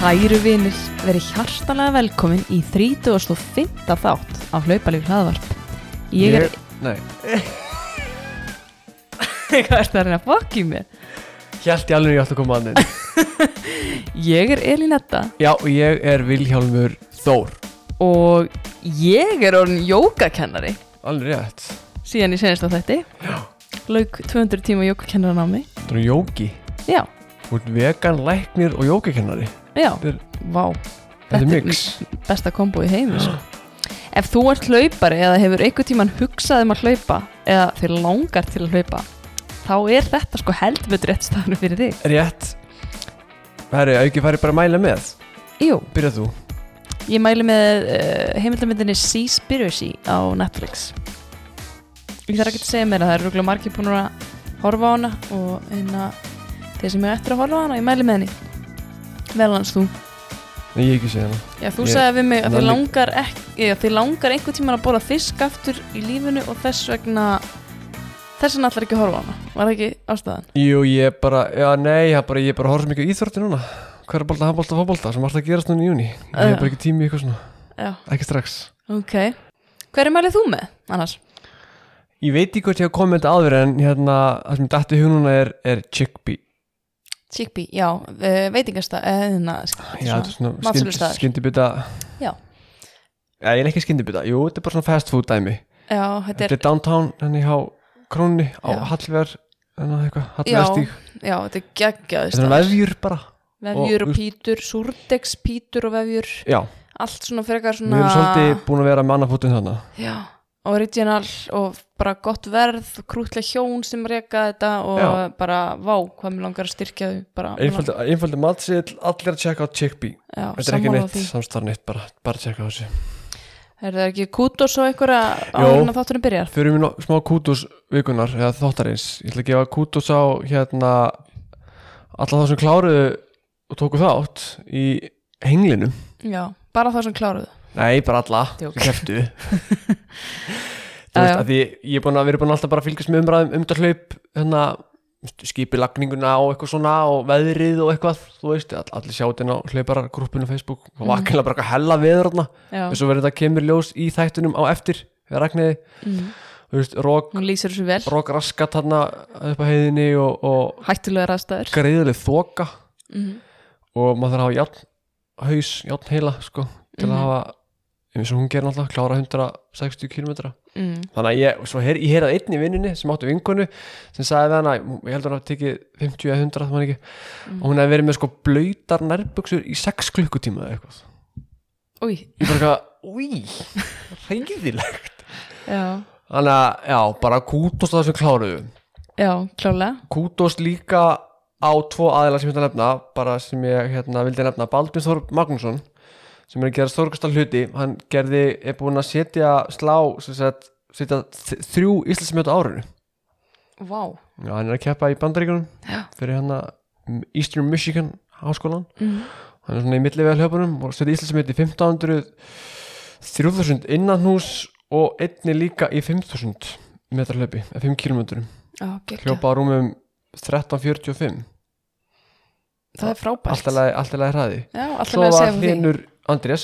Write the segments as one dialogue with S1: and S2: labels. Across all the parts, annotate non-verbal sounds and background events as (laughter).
S1: Kæru vinir, verið hjartalega velkomin í 35. þátt af hlaupalíf hlaðvarp. Ég er,
S2: Nei,
S1: (laughs) hvað er það að reyna að fokki mér?
S2: hjælt ég alveg ég ætti að koma að (laughs) neinn
S1: Ég er Elinetta
S2: Já, og ég er Vilhjálmur Þór
S1: og ég er orðin jógakennari
S2: Alveg rétt
S1: síðan ég senast á þetta. Lauk 200 tíma jógakennaran á mig.
S2: Þú er jóki
S1: Já,
S2: Þú ert vegan, læknir og jókakennari
S1: já,
S2: Þetta er-
S1: vá,
S2: Þetta er
S1: Þetta er
S2: (laughs) mix
S1: besta kombo í heimi sko. Ef þú ert hlaupari eða hefur einhvern tíman hugsað um að hlaupa eða þér langar til að hlaupa þá er þetta sko heldbetur rétt staðan fyrir þig.
S2: Rétt Herri, auki fari bara að mæla með
S1: Jú,
S2: Byrja þú
S1: Ég mæli með uh, heimildamöndinni Seaspiracy á Netflix Ég þarf ekki að segja mér að það eru rúglega margir búin að horfa á hana og hérna þeir sem eru eftir að horfa á hana, ég mæli með henni Vel hans þú
S2: Nei, ég hef ekki séð hana
S1: Já, þú
S2: Ég-
S1: sagði við mig að þið
S2: Lalli-
S1: langar, ekki- já, þig langar einhvern tímann að bóla fisk aftur í lífinu og þess vegna þess vegna allar ekki að horfa á hana Var það ekki ástæðan?
S2: Jú, ég bara, já, nei, ég bara, ég bara horf mikið á íþrótti núna Hverjabolta, handbolta, fótbolta sem alltaf gerast núna í júni Ég hef
S1: Já.
S2: bara ekki tími í eitthvað svona
S1: Já,
S2: Ekki strax
S1: ok Hverju mælið þú með annars?
S2: Ég veit ekki hvort ég hef komið með þetta áður en hérna, það sem dætti hug núna er, er chickpea
S1: Chickpea, já, uh, veitingasta eða hérna, sk-
S2: Já,
S1: svona-
S2: þetta er svona
S1: matsölustaður.
S2: skynd- skyndibita
S1: Já.
S2: Já, ég er ekki skyndibita, jú, þetta er bara svona fast food dæmi
S1: já, þetta
S2: Þetta
S1: er
S2: er downtown, henni á Krónni, á
S1: Já.
S2: Hallver Þannig eitthvað,
S1: Já,
S2: Hallverstíg
S1: Já, þetta er geggjaðist
S2: Þetta er vefjur bara
S1: Vefjur
S2: og-
S1: og pítur, súrdegspítur og vefjur
S2: Já,
S1: Allt svona frekar
S2: við
S1: svona
S2: erum svolítið búin að vera með annað fótinn þarna
S1: Já, original og bara gott verð Krútlega hjón sem reka þetta Og
S2: Já.
S1: bara, vá, hvað mér langar að styrkja þau bara, mig
S2: Einfaldi, einfaldi matsill, allir að checka á Chickpea
S1: langar- já,
S2: Þetta er ekki
S1: sammála
S2: neitt,
S1: því.
S2: samstarf neitt bara, bara checka á þessu
S1: Er það ekki kútos og einhverja
S2: Jó.
S1: áður en að þátturinn byrjar?
S2: Fyrir mér smá kútus vikunar, eða þáttarins Ég ætla að gefa kútus á hérna Alla þá sem kláruðu og tóku þátt í henglinum
S1: Já, bara það sem kláruðu
S2: Nei, bara alla
S1: Djók.
S2: sem keftu
S1: (laughs)
S2: Þú
S1: Já,
S2: veist,
S1: já.
S2: að því ég er búin að vera búin alltaf bara að fylgjast með umræðum um þetta hlaup hérna, skipilagninguna og eitthvað svona og veðrið og eitthvað, þú veist all, allir sjá þetta inn á hlauparargrúppinu á Facebook og mm. vakkilega bara eitthvað hella veður þarna
S1: Mhm. Já,
S2: og svo verður þetta kemur ljós í þættunum á eftir við ragniði,
S1: mm.
S2: þú veist, rók
S1: hún lýsir þessu vel
S2: rók raskat þarna upp á heiðinni og, og
S1: Hættulega ræðstæður
S2: greiðileg þoka
S1: mm.
S2: og maður þarf að hafa játn haus, játn heila, sko til
S1: Mhm.
S2: að hafa, eins og hún gerir náttúrulega klára 160 km
S1: Mm.
S2: þannig að ég, svo her, ég heyrði einn í vinninni sem áttu vinkonu sem sagði við hana, ég heldur hann að tekið 50 eða 100 það man ekki, og hún hefði verið með sko blöytar nærbuksur í 6 klukkutíma eða eitthvað,
S1: Új,
S2: ég bara eitthvað úi, reyðilegt
S1: já,
S2: þannig að, já, bara kútost á þessum kláruðu,
S1: já, klálega
S2: kútost líka á tvo aðila sem ég ætla að nefna bara sem ég, hérna, vildi nefna Baldvin Þór Magnússon sem er að gera stórkastar hluti, hann gerði er búin að setja slá sem sagt, setja þ- þrjú Íslandsmjötu árinu
S1: Vá
S2: Já, hann er að keppa í bandaríkunum
S1: Já.
S2: fyrir hann að Eastern Michigan háskólan
S1: mm.
S2: hann er svona í millivega hljöpunum og setja Íslandsmynd í 1500 3000 innan hús og einni líka í 5000 metra hljöpi, eða 5 km
S1: Já, gekkja.
S2: hljópa á rúmum 1345
S1: Það er frábært
S2: alltaf leið hraði
S1: Já, alltaf
S2: svo
S1: leið að segja
S2: var
S1: frá því
S2: hlinur Andrés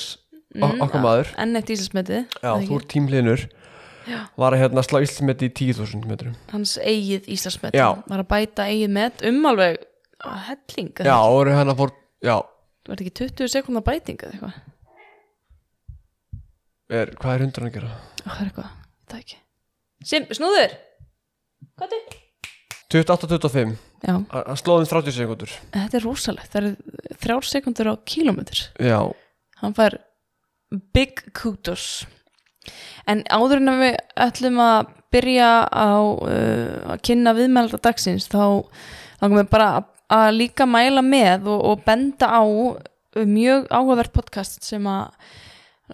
S2: o-
S1: Mm,
S2: okkar maður
S1: Enn eitt íslensmetið
S2: já,
S1: það ekki?
S2: þú er tímlinur
S1: Já.
S2: var að hérna slá Íslandsmynd í 10.000 metrum
S1: Hans eigið íslensmetið
S2: Já.
S1: Var að bæta eigið met um alveg að helling
S2: já, og eru hann að hérna fór já,
S1: Var þetta ekki 20 sekundar bæting eða eitthvað
S2: er, hvað er hundur að gera?
S1: Ó, Það er eitthvað, það ekki Sim, snúður Hvað er
S2: 28.25
S1: Já,
S2: að slóðum 30 sekundur
S1: þetta er rosalegt Það eru þrjár sekundur á kílómetr
S2: já,
S1: hann fær big kudos en áður en að við ætlum að byrja á uh, að kynna viðmælda dagsins þá langum við bara að, að líka mæla með og, og benda á uh, mjög áhugavert podcast sem að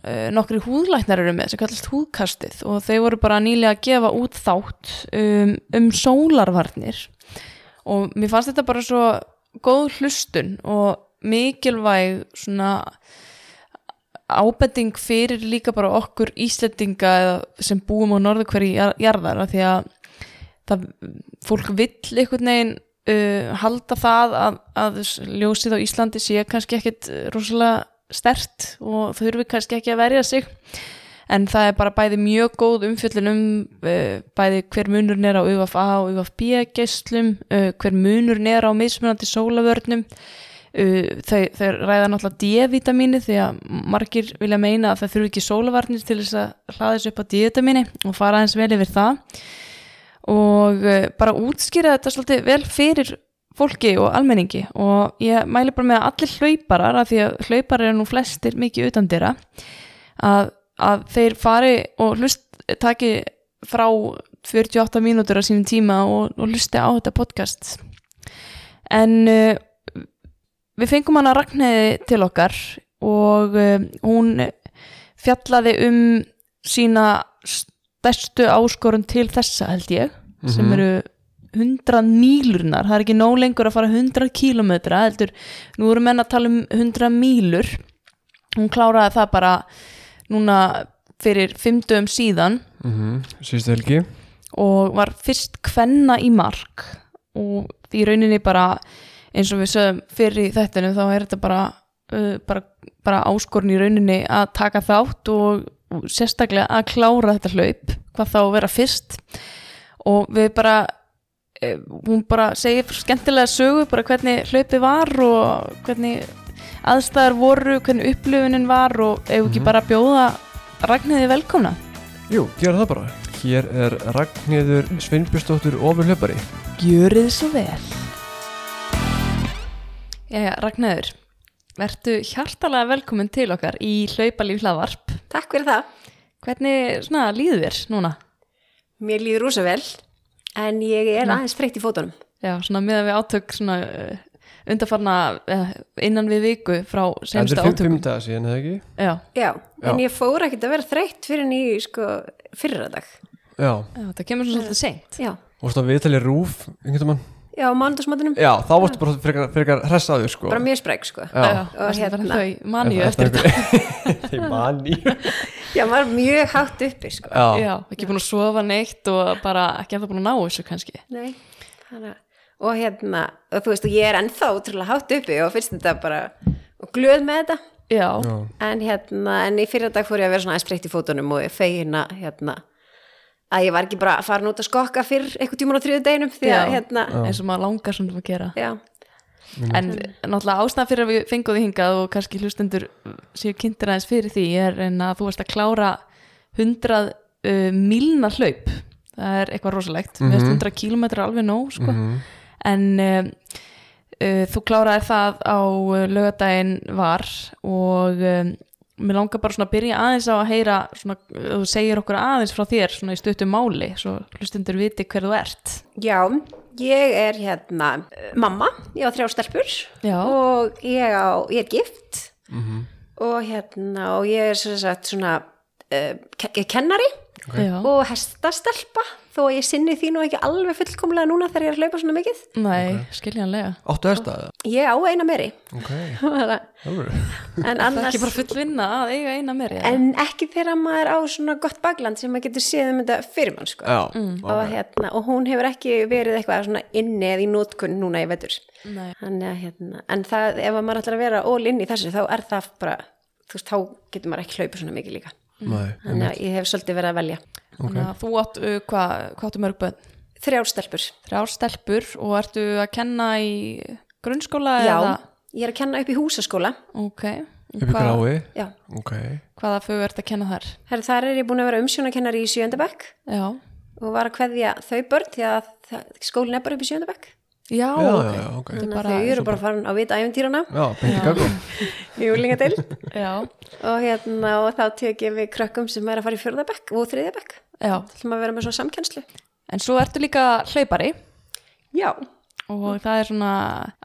S1: uh, nokkri húðlæknar eru með sem kallast húðkastið og þau voru bara nýlega að gefa út þátt um, um sólarvarnir og mér fannst þetta bara svo góð hlustun og mikilvæg svona ábending fyrir líka bara okkur Íslendinga eða sem búum á norðu hverju jarðar af því að það, fólk vill einhvern veginn uh, halda það að, að ljósið á Íslandi sé kannski ekkit uh, rosalega stert og þurfi kannski ekki að verja sig en það er bara bæði mjög góð umfjöllun um uh, bæði hver munurinn er á UFA og UFB geislum, uh, hver munurinn er á mismunandi sólavörnum uh, þau, þau ræða náttúrulega D-vitamíni því að margir vilja meina að það þurfi ekki sólavarnir til þess að hlaða þessu upp á D-vitamíni og fara aðeins vel yfir það og uh, bara útskýra þetta svolítið vel fyrir fólki og almenningi og ég mæli bara með að allir hlauparar af því að hlauparar eru nú flestir mikið utan dyrra að, að þeir fari og hlust taki frá 48 mínútur á sínum tíma og, og hlusti á þetta podcast en uh, við fengum hana Ragnheði til okkar og um, hún fjallaði um sína stærstu áskorun til þessa held ég sem
S2: Mhm.
S1: eru 100 mílurnar það er ekki nóg lengur að fara 100 kílometra heldur, nú eru menn að tala um 100 mílur hún kláraði það bara núna fyrir 5 dögum síðan
S2: Mhm. síðustu helgi
S1: og var fyrst kvenna í mark og í rauninni bara eins og við sögum fyrir í þettunum þá er þetta bara, uh, bara, bara áskorun í rauninni að taka þátt og, og sérstaklega að klára þetta hlaup, hvað þá að vera fyrst og við bara eh, hún bara segir skemmtilega sögu bara hvernig hlaupið var og hvernig aðstæðar voru hvernig upplifunin var og ef ekki
S2: Mhm.
S1: bara bjóða Ragnhiði velkomna
S2: Jú, gera það bara Hér er Ragnhildur Sveinbjörnsdóttur ofurlöpari
S1: Gjörið svo vel. Jæja, Ragnar, vertu hjartalega velkomin til okkar í hlaupalíf hlaðvarp.
S3: Takk fyrir það.
S1: Hvernig svona, líður þér núna?
S3: Mér líður rosa vel, en ég er aðeins freytt í fótunum.
S1: Já, svona meðan við átök svona uh, undarfarna uh, innan við viku frá semsta
S2: Þetta er
S1: átök.
S2: fimm daga síðan, eða ekki?
S1: Já,
S3: Já, en
S2: Já.
S3: ég fór ekkert að vera þreytt fyrir en í sko, fyrradag.
S2: Já,
S1: já, það kemur svona svolítið seint.
S3: Já,
S2: vorstu að viðtali rúf einhvern mann?
S3: já, mánudagsmatunum.
S2: Já, þá vorstu bara frekar, frekar hressaður sko
S3: Bara mjög spreg, sko.
S2: Já.
S3: Og
S1: og hérna.
S3: hérna.
S1: Þau manju eftir þetta.
S2: (laughs) þetta Þeir mani
S3: Já, maður er mjög hátt uppi, sko.
S2: Já,
S1: Já, ekki búin að sofa neitt og bara ekki að það búin að ná þessu kannski.
S3: Nei, þannig að... Og hérna, og þú veist, og ég er ennþá útrúlega hátt uppi og finnst þetta bara, og glöð með þetta.
S1: Já,
S2: já,
S3: En hérna, en í fyrradag fór ég að vera svona aðeins breytt í fótunum og feina, hérna, að ég var ekki bara farin út að skokka fyrr eitthvað tíman á þriðu deginum, því að,
S1: Já.
S3: hérna,
S1: eins og maður langar svona að gera.
S3: já,
S1: En náttúrulega ástæðan fyrir að við fengum því hingað og kannski hlustendur séu kynntir aðeins fyrir því er en að þú varst að klára 100 uh, milna hlaup. Það er eitthvað rosalegt. Mm -hmm. 100 kílómetrar er alveg nóg, sko. En uh, uh, þú kláraði það á lögadaginn var og um, mér langar bara svona að byrja aðeins á að heyra svona, uh, þú segir okkur aðeins frá þér svona í stuttum máli, svo hlustendur viti hver þú ert.
S3: Já, ég er hérna eh, mamma, ég á þrjá stelpur
S1: Já.
S3: og ég, á, ég er gift og hérna og ég er sem sagt svona uh, ke kennari
S1: Já.
S3: og hestastelpa þó að ég sinni því nú ekki alveg fullkomlega núna þegar ég er að hlaupa svona mikið.
S1: Nei, skiljanlega.
S2: áttu hérsta eða?
S3: Ég á eina meiri
S2: Ok,
S3: (laughs)
S1: Það er ekki bara
S2: alveg
S3: en annars
S1: full vinna að eiga eina meiri eða?
S3: en ekki þegar maður á svona gott bakland sem maður getur séð um þetta fyrir mann sko.
S2: Já,
S3: og, hérna, og hún hefur ekki verið eitthvað svona inni eða í nótkunn núna í vetur.
S1: Nei.
S3: Þannig að hérna, en það, ef maður ætlar að vera all inni í þessu, þá er það bara, þú veist, þá getur maður ekki hlaupið svona mikið líka.
S2: Nei,
S3: Þannig að ég hef svolítið verið að velja.
S1: Þannig að þú átt, uh, hvað hva áttu mörg bönn?
S3: Þrjár stelpur.
S1: Þrjár stelpur og ertu að kenna í grunnskóla
S3: Já,
S1: eða?
S3: ég er að kenna upp í húsaskóla.
S1: Ok.
S2: upp í grái
S3: Já,
S2: Ok,
S1: Hvaða fög ert að kenna þar?
S3: Her, þar er ég búin að vera umsjónakennari í sjöndabæk
S1: Já.
S3: og var að kveðja þau börn því að það- skólinn er bara upp í sjöndabæk.
S1: Já,
S2: já,
S1: ok. Þetta
S2: já, ok
S1: er
S3: Þannig að
S1: bara,
S3: þau eru bara farin að vita æfintýrana
S2: Já, beint í kakó
S3: í úlingadeild
S1: já,
S3: (laughs) og, hérna, og þá tek ég við krökkum sem er að fara í fjörðabæk og þriðabæk.
S1: já.
S3: Það ætlum að vera með svona samkennslu.
S1: En svo ertu líka hlaupari
S3: Já,
S1: og það er svona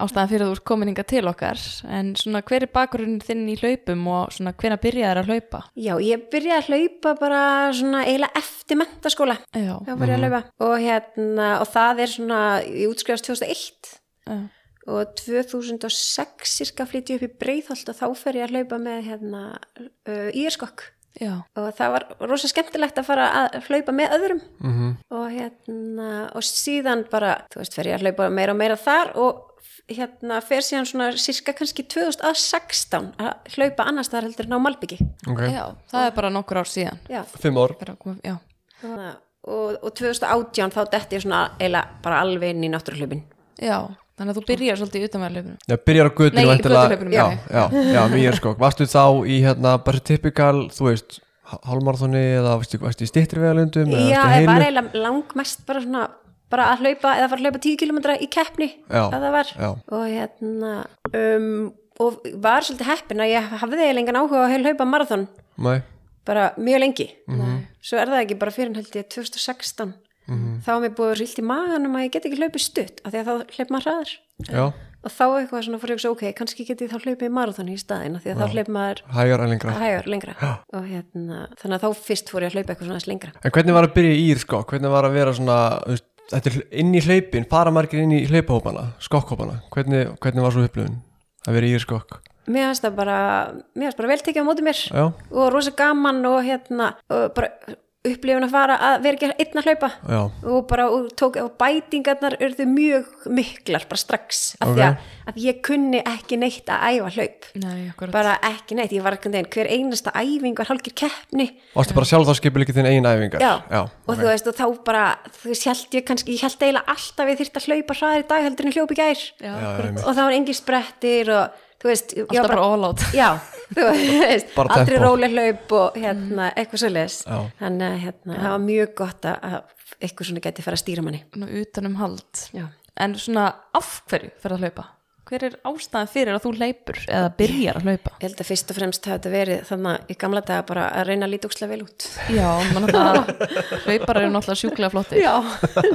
S1: ástæðan fyrir að þú ert komin hingað til okkar. En svona hver er bakgrunnin þinn í hlaupum og svona hvena byrjaði að hlaupa?
S3: Já, ég byrjaði að hlaupa bara svona eiginlega eftir mentaskóla.
S1: Já,
S3: Þá var ég að hlaupa. Og hérna, og það er svona, ég útskrifast 2001
S1: já.
S3: og 2006 cirka flytti ég upp í Breiðholt og þá fer ég að hlaupa með hérna uh, íerskokk.
S1: já,
S3: og það var rosa skemmtilegt að fara að hlaupa með öðrum
S2: mm
S3: og hérna og síðan bara, þú veist, fer ég að hlaupa meira og meira þar og hérna fer síðan svona sirka kannski 2016 að hlaupa annars þar heldur en á Malbyggi
S2: ok,
S1: já, það er bara nokkur ár síðan
S3: já,
S2: fimm ár
S1: Bara kom- já,
S3: Þannig að- og, og 2018 þá detti ég svona eiginlega bara alveg inn í náttúruhlaupin
S1: já, þannig að þú byrjar svolítið utan með löpunum
S2: Já, byrjar á götunum
S1: Nei, í
S2: væntanlega-
S1: götuhlaupunum,
S2: Já,
S1: já.
S2: já, já, mjög sko Varstu þá í hérna, bara typikal, þú veist Hálmarþóni eða varstu, varstu í stittri vegalundum eða
S3: Já,
S2: varstu
S3: ég
S2: heilu?
S3: var eiginlega langmest bara svona bara að hlaupa eða fara að hlaupa 10 km í keppni
S2: Já,
S3: að það var
S2: já.
S3: og hérna um, og var svolítið heppin að ég hafði eiginlega engan áhuga á að hlaupa marathon
S2: Nei,
S3: bara mjög lengi
S2: Mhm.
S3: svo er það ekki bara fyrir en held ég 2016
S2: Mhm.
S3: þá er mér búið að rílt í maganum að ég get ekki hlaupið stutt af því að þá hlaup maður hraðar
S2: já,
S3: og þá eitthvað svona fór ég að hugsa, ok, kannski get ég þá hlaupið marathon í staðin af því að þá hlaup maður
S2: hægar en lengra
S3: hægur lengra og hérna, þannig að þá fyrst fór ég að hlaupa eitthvað svona aðeins lengra
S2: En hvernig var að byrja í ír skokk? Hvernig var að vera svona, þú veist, þetta er hl- inn í hlaupin, fara margir inn í hlaupahópana, skokkhópana hvernig, hvernig var svo upplifun að vera í ír skokk?
S3: Mér finnst það bara, mér finnst bara vel tekið á móti mér
S2: Já,
S3: og rosa gaman og hérna og bara upplifun að fara að vera ekki einn að hlaupa
S2: já,
S3: og bara og tók og bætingarnar urðu mjög miklar bara strax af því
S2: Ok.
S3: að, að ég kunni ekki neitt að æfa hlaup
S1: Nei, akkurat
S3: bara ekki neitt, ég var ekki neginn hver einasta æfing var hálgir keppni
S2: varstu bara sjálf þá skipið líka þinn eigin æfingar
S3: Já,
S2: já
S3: og þú veist og þá bara þú veist, held ég kannski, ég held eiginlega alltaf ég þyrfti að hlaupa hraðar í dag heldur en ég hljóp í gær
S1: Já,
S2: já,
S1: akkurat.
S2: einmitt.
S3: og það var engin sprettir og þú veist, ég
S1: alltaf
S3: var
S1: bara all (laughs) out
S3: já, þú veist,
S2: (laughs) Bara
S3: aldrei
S2: tempó.
S3: róleg hlaup og
S1: Mm.
S3: hérna, eitthvað svoleiðis
S2: Já.
S3: þannig að hérna, það var mjög gott að- að eitthvað svona geti fara að stýra manni
S1: Nú, utan um hald
S3: já.
S1: En svona af hverju fyrir að hlaupa? Hver er ástæðan fyrir að þú hleypur eða byrjar að hlaupa?
S3: ég held að fyrst og fremst hafa þetta verið þannig að í gamla daga bara að reyna að líta úkslega vel út
S1: Já, mann náttúrulega, hlaupar eru náttúrulega sjúklega flottir
S3: já,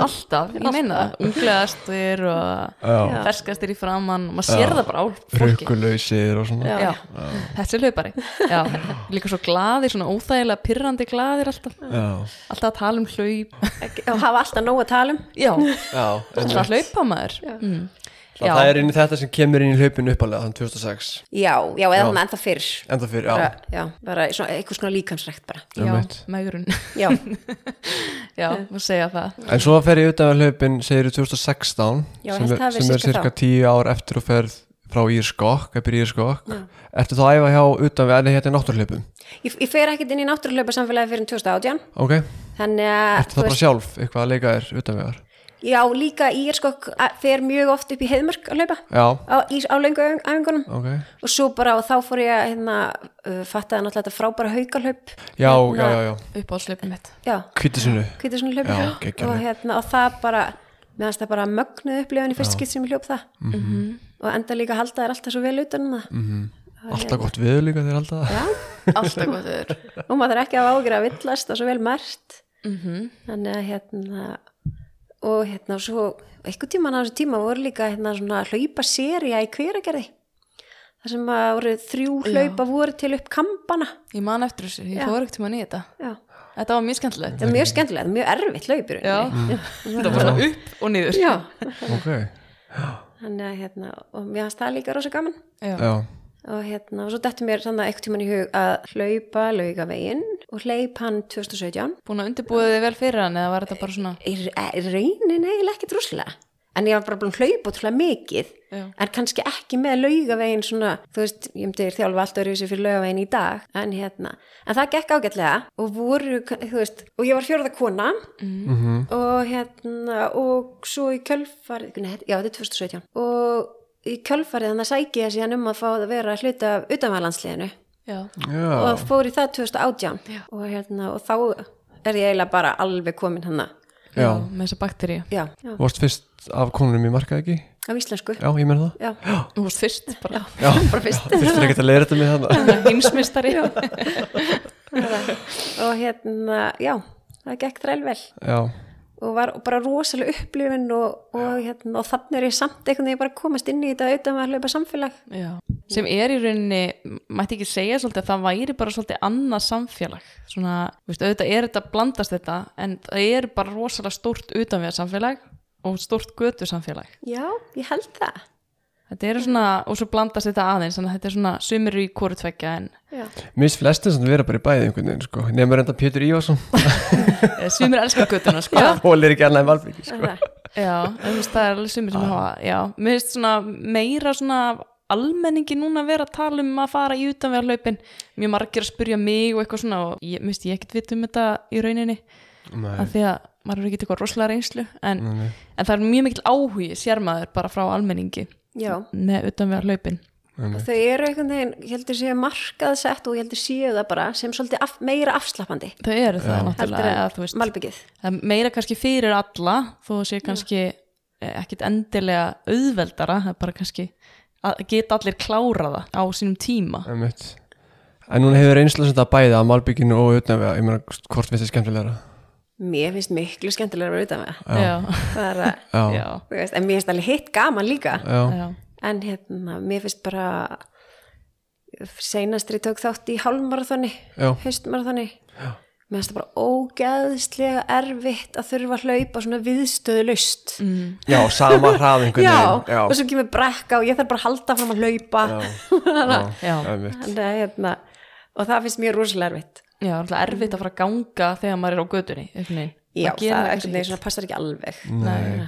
S1: Alltaf, ég meina það, unglegastir og
S2: Já,
S1: ferskastir í framann og maður sér það bara á fólki
S2: rukkulausir og svona
S3: Já.
S1: Já, þessi hlaupari Já, líka svo glaðir, svona óþægilega pirrandi glaðir alltaf
S2: Já,
S1: Alltaf að tala um hlaup
S3: ekki, og hafa alltaf nóg að tala um
S1: Já,
S2: já
S1: alltaf að hlaupa maður Mm. Já,
S2: Það er inn í þetta sem kemur inn í hlaupin uppalega þann 2006,
S3: já, já, eða
S2: Já.
S3: þannig ennþá fyrr
S2: enda fyrir,
S3: bara,
S2: já
S3: já, bara svona, eitthvað svona líkansrækt bara
S1: já,
S2: einmitt.
S1: megrun
S3: já,
S2: (laughs)
S1: Já, má segja það
S2: En svo fer ég utan að hlaupin, segir 2016
S3: Já,
S2: sem
S3: held
S2: er,
S3: það hafi
S2: sem er
S3: cirka
S2: cirka
S3: þá.
S2: 10 ár eftir og ferð frá Írskokk, eppir Írskokk Ertu þá að æfa hjá utan við, en hérna náttúrhlaupum
S3: ég, ég fer ekkert inn í náttúrulega samfélagi fyrir 2018
S2: Ok,
S3: þannig að
S2: ertu það bara sjálf eitthvað að leika þér utan við þar
S3: já, líka ég er sko fer mjög oft upp í heiðmörk að laupa
S2: Já,
S3: á, í, á löngu æfing- æfingunum
S2: ok
S3: og svo bara og þá fór ég að hérna, uh, fattaði náttúrulega þetta frábæra haukalaup
S2: Já, já,
S3: Hérna-
S2: já, já,
S1: Upp á hlaupum mitt
S3: já,
S2: kvítisinu
S3: hvitið svona laup
S2: Já, geggjað
S3: og,
S2: hlaup.
S3: hérna, og það bara meðan það bara mögnuð upplifin í fyrst skitt sem ég hljóp það
S2: Mhm.
S3: Mhm. og enda líka halda þær alltaf svo vel utan um það
S2: Mm. Alltaf
S3: hérna?
S2: gott viður líka þér alltaf
S3: (laughs) já,
S1: Alltaf gott þeir
S3: og maður þarf ekki að ágjur að villast og svo vel mert
S1: Mhm.
S3: þannig að hérna og hérna svo einhver tíman á þessu tíma voru líka hérna svona hlaupa seria í hveragerði þar sem að voru þrjú hlaupa voru til upp kampana
S1: Ég man eftir þessu, ég
S3: Já.
S1: fór ekkert tíma í þetta
S3: já
S1: Þetta var mjög skemmtilegt
S3: Það er mjög skemmtilegt, mjög erfitt hlaupir
S1: Já, þetta var svona upp og niður
S3: já.
S2: Ok,
S3: Þannig að hérna, og mér fannst það líka rosa gaman
S1: Já,
S2: já,
S3: og hérna, og svo dettur mér þannig eitthvað tíman í hug að hlaupa laugaveginn og hleyp hann 2017
S1: búin að undirbúið þið vel fyrir hann eða var þetta bara svona
S3: Í re- í rauninni eiginlega ekki druslega en ég var bara búin að hlaupa ótrúlega mikið
S1: Já.
S3: en kannski ekki með laugaveginn svona, þú veist, ég myndi þér þjálfa allt öðruvísi fyrir laugaveginn í dag, en hérna en það gekk ágætlega og voru þú veist, og ég var fjórða kona
S2: Mhm.
S3: og hérna og svo í kjölfarið, nei, já þetta er 2017 og í kjölfarið þannig að sæki ég síðan um að fá að vera hluti af utanvæðlandsliðinu
S1: Já,
S2: já
S3: og fór í það 2018 og hérna og þá er ég eiginlega bara alveg komin hann
S1: já, með þessa bakteríu
S3: já,
S2: Þú
S3: já,
S2: varst fyrst af konunum í markað ekki?
S3: á íslensku
S2: Já, ég meina það
S3: já,
S1: Þú varst fyrst bara
S2: Já, bara fyrst Þurftir ekki að leira þetta með þannig
S1: Hinsmistari
S3: (laughs) og hérna, já það gekk þræl vel
S2: Já,
S3: og var bara rosalega upplifin og, og, hérna, og þannig er ég samt einhvern veginn bara að komast inn í þetta auðvitað með að hlaupa samfélag
S1: Já, sem er í rauninni mætti ekki segja svolítið að það væri bara svolítið annað samfélag svona, veist, auðvitað er þetta blandast þetta en það er bara rosalega stórt utanvega samfélag og stórt götu samfélag
S3: já, ég held það
S1: þetta eru svona, og svo blandast þetta aðeins þannig að þetta er svona sumir eru í hvort tveggja en
S3: já.
S2: Mér finnst flestir sem vera bara í bæði einhvern veginn sko. Nefnir enda Pétur Ívarsson
S1: eh, sumir elska göttuna sko.
S2: (laughs)
S3: (laughs)
S1: já.
S2: Hólir ekki annað en valbyggi sko.
S3: Sko.
S1: en þú veist, það er alveg sumir
S2: Ah.
S1: sem hafa já, mér finnst svona meira svona af almenningi núna að vera að tala um að fara í utanvegar hlaupin mjög margir að spurja mig og eitthvað svona og ég, mér finnst ég ekkert vita um þetta í rauninni
S2: Nei,
S1: af því að maður er ekki eitthvað rosalega reynslu en,
S2: nei, nei.
S1: en það er mjög mikil áhugi sérmaður bara frá almenningi
S3: já.
S1: með utanvegar hlaupin
S2: Nei.
S3: Þau eru einhvern veginn, ég heldur séu markaðsett og ég heldur séu það bara sem svolítið af, meira afslappandi
S1: þau eru það
S3: heldur
S1: náttúrulega eða, þú veist,
S3: en malbyggið.
S1: það er meira kannski fyrir alla þó að sé kannski eh, ekkit endilega auðveldara það er bara kannski að geta allir kláraða á sínum tíma
S2: Einmitt. En hún hefur einslega sem þetta bæði að malbygginu og utanvega, ég meina hvort finnst þið skemmtilegra
S3: Mér finnst miklu skemmtilega að vera utan með
S1: já,
S3: það. Er,
S2: Já,
S1: já,
S3: þú veist, en mér finnst alveg hitt gaman líka.
S2: já,
S1: já.
S3: En hérna, mér finnst bara seinastri tók þátt í hálfmarathoni,
S2: já,
S3: haustmarathoni. Mér finnst það bara ógeðslega erfitt að þurfa að hlaupa svona viðstöðu laust.
S1: Mm.
S2: já sama hrað einhvern
S3: Já,
S2: veginn Já,
S3: og svo kemur brekka og ég þarf bara að halda fram að hlaupa. (laughs)
S2: já, já,
S1: Já.
S2: einmitt.
S3: Þannig að hérna, og það finnst mér rosalega erfitt.
S1: já, alltaf erfitt að fara að ganga þegar maður er á gödunni
S3: Já, það er ekkert neginn svona passar ekki alveg.
S2: Nei.